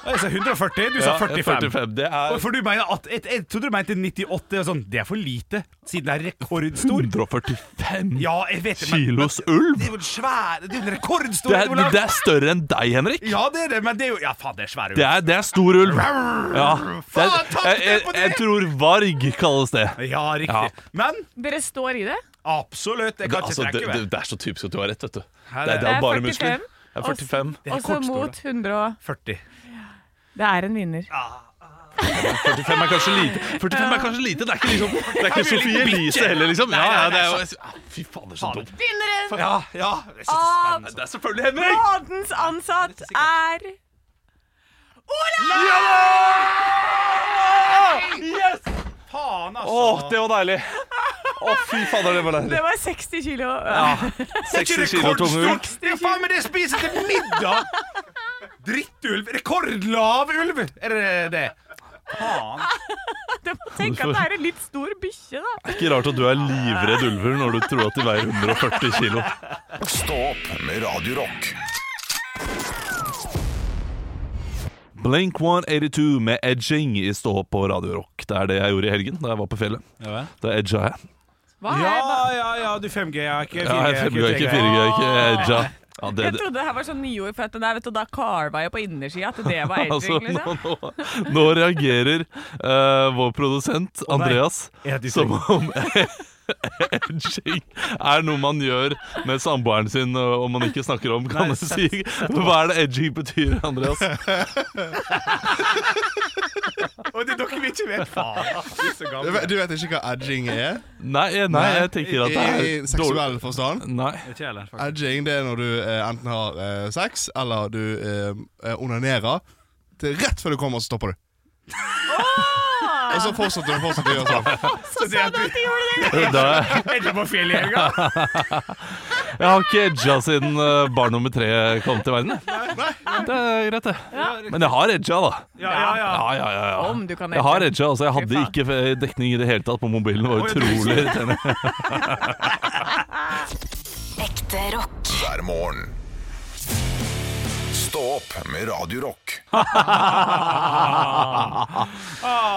S2: Jeg sa 140, du sa
S4: Ja,
S2: 45.
S4: 45. Det er
S2: Og For du mener at, jeg, jeg trodde du mente 98. og Sånn. Det er for lite, siden det er rekordstor.
S4: 145
S2: Ja, jeg vet det, men-
S4: kilos
S2: Det
S4: ulv!
S2: er jo en svær Det er jo en rekordstor
S4: Det er,
S2: Olav.
S4: det er større enn deg, Henrik.
S2: Ja, det er det, men det er jo Ja, faen, det er svær ulv.
S4: Det er, det er stor ulv. Ja. Det
S2: Faen,
S4: er,
S2: takk
S4: jeg,
S2: dere
S4: jeg,
S2: på det!
S4: jeg tror varg kalles det.
S2: Ja, riktig.
S4: Ja.
S2: Men
S3: Dere står i det?
S2: absolutt. Jeg
S4: Det,
S2: kan ikke
S4: altså, det,
S2: trekke
S4: det,
S2: meg.
S4: det er så typisk at du har rett, vet du. Det
S2: Her
S4: er,
S2: er
S4: det er,
S2: det.
S3: Det er
S4: bare
S3: 45.
S4: muskler. Det er 45.
S2: Det er
S3: Og så
S2: rekordstor,
S3: mot 100 og
S2: 40.
S3: Det er en vinner.
S4: 45 er kanskje
S3: [LAUGHS]
S4: lite. 45 er kanskje lite, Det er ikke, liksom, det er ikke Sofie Elise heller, liksom. Ja, ja, det er jo, Ah, fy fader, så dumt.
S3: Vinneren
S2: Ja, ja. Det er så
S3: av
S4: Det er selvfølgelig Henrik!
S3: månedens ansatt er
S2: faen, altså.
S4: Å, det var deilig. Å, fy fader, det var deilig.
S3: Det var 60 kilo.
S2: Det er ikke
S4: 60 kilo tung ulv.
S2: rekordstort. Det er faen meg det jeg spiser til middag! Drittulv. Rekordlav ulv, er det det? Faen.
S3: [LAUGHS] Du må tenke at det er en litt stor bikkje, da.
S4: Ikke rart at du er livredd ulver når du tror at de veier 140 kilo.
S1: Stå opp med Radio Rock.
S4: Blink 182 med edging i Stå opp på Radio Rock. Det er det jeg gjorde i helgen da jeg var på fjellet. Da edga jeg.
S3: Hva er
S2: Ja,
S3: det?
S2: ja, ja, du 5G, ja. Ikke 4G.
S4: Ja, jeg
S2: ikke
S4: 4G,
S2: 3G.
S4: ikke 4G, ikke edga. Ja, det,
S3: Jeg trodde det her var sånn nyord, for at det der, vet du, da carva jeg på innersida at
S4: [LAUGHS]
S3: det var
S4: altså,
S3: edging.
S4: nå,
S3: Liksom.
S4: nå, nå reagerer eh, vår produsent Andreas
S2: Er det
S4: som om [LAUGHS] edging er noe man gjør med samboeren sin eh, om man ikke snakker om, kan
S2: Nei,
S4: du si. [LAUGHS] Hva er det edging betyr, Andreas?
S2: Og det er dere vi ikke vet. Faen, ass, vi er så
S9: Du
S2: gamle.
S9: vet, du vet ikke hva edging er?
S4: Nei, eh, nei, jeg tenker at det
S9: I, i,
S4: er
S9: i
S4: dårlig
S9: seksuell forstand.
S4: Nei.
S2: Ikke heller, faktisk.
S9: Edging det er når du eh, enten har eh, sex, eller du eh, eh, onanerer. Til rett før du kommer, så stopper du. Og så fortsetter du fortsetter du å gjøre sånn.
S2: Så det at du
S4: Da,
S2: edger på fjellet i helga.
S4: jeg har ikke edga siden eh, barn nummer tre kom til verden. jeg. Det er greit, det. Men jeg har edga, da.
S2: Ja, ja, ja.
S4: Ja, ja, ja, ja.
S3: Om du kan
S4: Jeg har
S3: edge.
S4: edga, altså. Jeg
S3: Fy
S4: hadde
S3: faen.
S4: ikke eh, dekning i det hele tatt på mobilen. Det var
S2: Å, ja, du-
S4: utrolig irriterende.
S5: Ekte rock.
S1: Hver morgen. Stå opp med Radio Rock.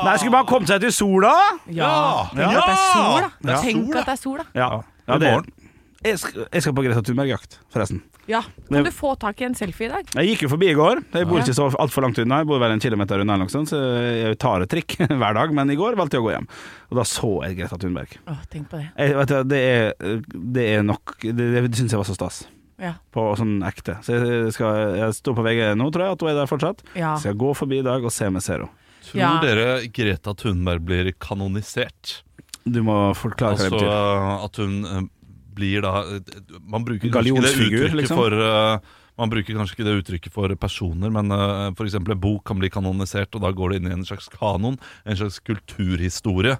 S2: Nei, skulle man komme seg til sola?
S3: Ja! Tenk at det er sol, da.
S2: Ja.
S3: Tenk at det er sol, da.
S2: Ja, ja
S4: I
S2: det
S4: morgen.
S2: Jeg skal, jeg skal på Greta Thunberg-jakt, forresten.
S3: Ja. Kan du få tak i en selfie i dag?
S2: Jeg gikk jo forbi i går. Jeg bor ikke så altfor langt unna, Jeg bor vel en kilometer unna, eller noe sånt, så jeg tar et trikk [LAUGHS] hver dag. Men i går valgte jeg å gå hjem. Og da så jeg Greta Thunberg.
S3: Åh, tenk på det.
S2: Jeg, vet du, det, er, det er nok Det, det syns jeg var så stas.
S3: Ja.
S2: På sånn ekte. Så jeg, skal, jeg står på VG nå, tror jeg, at hun er der fortsatt.
S3: Ja.
S2: Skal jeg gå forbi i dag og se om jeg ser henne.
S4: Tror
S3: Ja.
S4: dere Greta Thunberg blir kanonisert?
S2: Du må forklare hva
S4: Altså
S2: det betyr.
S4: uh, at hun uh, blir da uh, Man bruker kanskje ikke det
S2: Gallionsfigur,
S4: uttrykket
S2: liksom?
S4: for uh, man bruker kanskje ikke det uttrykket for personer, men uh, f.eks. en bok kan bli kanonisert, og da går det inn i en slags kanon, en slags kulturhistorie.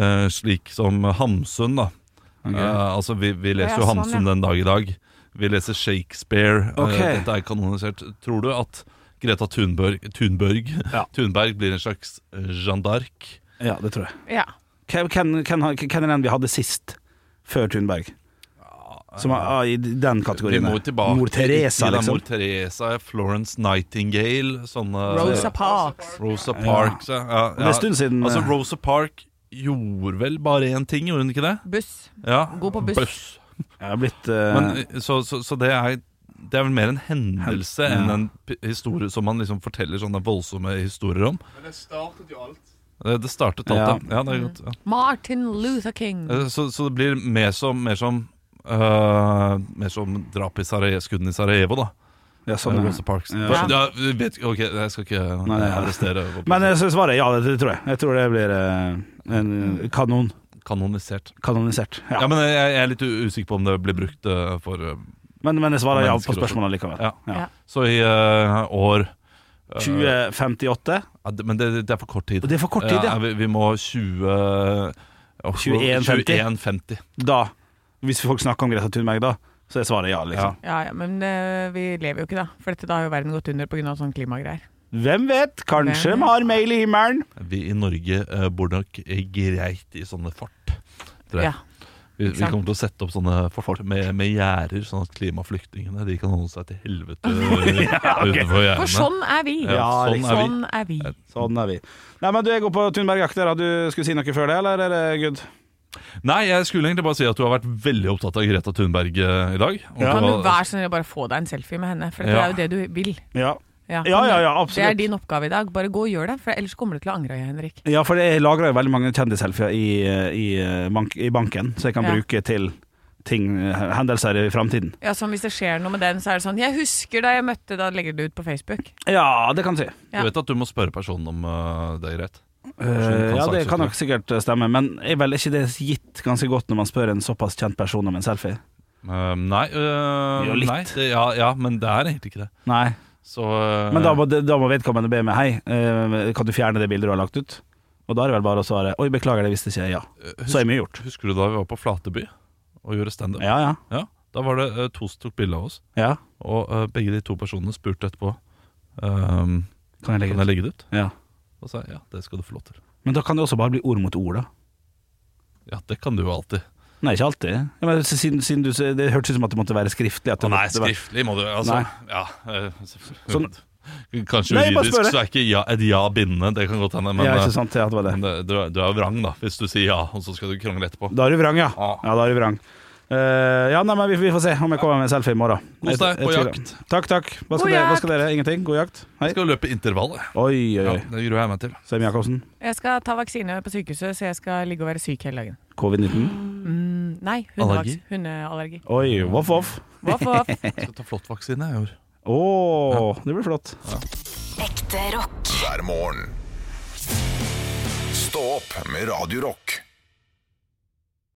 S4: Uh, slik som Hamsun, da. Uh, altså, vi, vi leser
S3: Å,
S4: jo
S3: ja, sånn,
S4: Hamsun
S3: ja.
S4: den dag i dag. Vi leser Shakespeare. Uh,
S2: Ok.
S4: dette er kanonisert. Tror du at Greta Thunberg, Thunberg,
S2: Ja.
S4: Thunberg blir en slags uh, eh, Jeanne d'Arc?
S2: Ja, det tror jeg.
S3: Ja.
S2: Hvem hvem- hvem har- hvem er den vi hadde sist, før Thunberg? Som er ah, i den
S4: Vi
S2: kategorien.
S4: må
S2: der.
S4: tilbake
S2: Mor Teresa,
S4: til da
S2: liksom.
S4: Mor Teresa, Florence Nightingale sånne,
S3: Rosa Parks.
S4: Rosa Parks ja. Ja,
S2: Det er en stund siden,
S4: Altså,
S2: eh.
S4: Rosa Park gjorde vel bare én ting, gjorde hun ikke det?
S3: Buss.
S4: Ja.
S3: God på buss.
S2: Jeg har blitt eh,
S4: Men, eh, så så, så det, er, det er vel mer en hendelse enn en p- historie som man liksom forteller sånne voldsomme historier om.
S9: Men det startet jo alt.
S4: Det, det startet alt, ja. ja. det er godt, ja.
S3: Martin Luther King.
S4: Eh, Så, så det blir mer som, mer som øh, mer som drap i Sarajevo, skuddene i Sarajevo, da.
S2: ja, sånn,
S4: Eh,
S2: ja.
S4: Rosa Parks.
S2: Ja.
S4: For- Ja, vi vet, ok, jeg skal ikke
S2: Nei, nei.
S4: arrestere
S2: Men eh, så svaret er ja, det, det tror jeg. Jeg tror det blir eh, en kanon.
S4: kanonisert.
S2: Kanonisert. Ja.
S4: Ja, men eh, jeg, jeg er litt u- usikker på om det blir brukt eh, for eh,
S2: men, men jeg svarer ja
S4: Mennesker
S2: på spørsmålet likevel.
S4: Ja.
S2: Ja.
S4: Så i eh, år eh,
S2: 2058.
S4: ja, det- Men det, det er for kort tid. Eh,
S2: Og det er for kort tid, ja.
S4: vi, vi må 20 oh,
S2: 21.50.
S4: 21.50.
S2: Da, hvis folk snakker om Greta Thunberg da, så er svaret ja, liksom.
S3: Ja, ja, men eh, vi lever jo ikke da. For dette da har jo verden gått under pga. sånne klimagreier.
S2: Hvem vet? Kanskje
S3: Hvem
S2: de har mail i himmelen?
S4: Vi i Norge eh, bor nok eh, greit i sånne fort. tror jeg.
S3: Ja.
S4: Vi,
S3: Ikke
S4: vi
S3: sant?
S4: kommer til å sette opp sånne fort med, med gjerder, sånn at klimaflyktningene de kan holde seg til
S2: [LAUGHS]
S4: helvete utenfor
S3: For
S4: gjerdene.
S3: sånn er vi.
S4: Ja, sånn
S2: liksom.
S3: Sånn
S4: er vi.
S3: er vi.
S2: Sånn er vi. Nei, men du, jeg går på Thunberg-jakt der. da. Du skulle si noe før det, eller er det good?
S4: Nei, jeg skulle egentlig bare si at du har vært veldig opptatt av Greta Thunberg eh, i dag. Og
S3: Kan
S4: det
S3: du
S4: var-
S3: vær så snill å bare få deg en selfie med henne? For dette
S4: Ja.
S3: er jo det du vil.
S2: Ja.
S3: Ja,
S2: Ja, ja, ja,
S3: Det
S2: absolutt.
S3: er din oppgave i dag. Bare gå og gjør det, for ellers kommer du til å angre, Henrik.
S2: Ja, for jeg lagrer jo veldig mange kjendisselfier i, i, eh, bank, i banken, så jeg kan
S3: Ja.
S2: bruke til ting, eh, hendelser i framtiden.
S3: Ja, sånn Hvis det skjer noe med den, så er det sånn 'Jeg husker da jeg møtte Da legger du det ut på Facebook.
S2: Ja, det kan du si.
S3: Ja.
S4: Du vet at du må spørre personen om eh, det er greit?
S2: Eh, ja, det
S4: saksøke
S2: kan
S4: deg.
S2: nok sikkert eh, stemme, men er vel ikke det gitt ganske godt når man spør en såpass kjent person om en selfie?
S4: Eh, nei, eh,
S2: Jo, litt.
S4: nei det, ja, ja, men det er egentlig ikke det.
S2: Nei,
S4: Så, eh,
S2: men da må, da må vedkommende be meg Hei, eh, kan du fjerne det bildet du har lagt ut? Og da er det vel bare å svare Oi, beklager, det visste ikke jeg, ja. Så er mye gjort.
S4: eh, Husker du da vi var på Flateby og gjorde standup?
S2: Ja, ja.
S4: Ja, da var det eh, to som tok bilde av oss,
S2: ja.
S4: og eh, begge de to personene spurte etterpå ehm,
S2: Kan jeg legge det
S4: Kan jeg
S2: ut?
S4: legge det ut.
S2: Ja.
S4: Og sa jeg, ja, det skal du få lov til.
S2: Men da kan det også bare bli ord mot ord, da.
S4: Ja, det kan du jo alltid.
S2: Nei, ikke alltid. Ja, men siden, siden du, det hørtes ut som at det måtte være skriftlig. At det
S4: Å nei,
S2: måtte være-
S4: skriftlig må du altså,
S2: Nei.
S4: Ja, eh,
S2: Sånn-
S4: Kanskje
S2: Nei, bare
S4: juridisk
S2: spørre.
S4: så er ikke ja, et ja bindende, det kan godt hende, men,
S2: ja,
S4: eh,
S2: ikke sant, ja, det var det.
S4: men det, du, er- du er jo vrang da, hvis du sier ja, og så skal du krangle etterpå.
S2: Da er du vrang, ja.
S4: Ja.
S2: Ja, da er du vrang. Eh, ja, nei, men vi, vi får se om jeg kommer med en selfie i morgen.
S4: Kos deg
S2: Jeg-
S4: på
S2: jeg tviler.
S4: jakt.
S2: Takk, takk. Hva
S3: God
S2: skal, dere, hva
S3: jakt.
S2: skal dere? Ingenting? God jakt? Hei.
S4: Jeg skal løpe intervallet.
S2: Oi, oi,
S4: Ja,
S2: oi.
S4: det gruer jeg meg til.
S2: Sem Jacobsen.
S3: Jeg skal ta vaksine på sykehuset, så jeg skal ligge og være syk hele dagen.
S2: Covid-19.
S3: Mm, nei,
S4: Allergi?
S3: hundevaks. Hundeallergi.
S2: Oi, voff, voff.
S3: Voff, voff.
S4: Jeg skal ta flott vaksine i år.
S2: Å, det blir flott.
S5: Ekte rock.
S1: hver morgen. Stå opp med Radio Rock.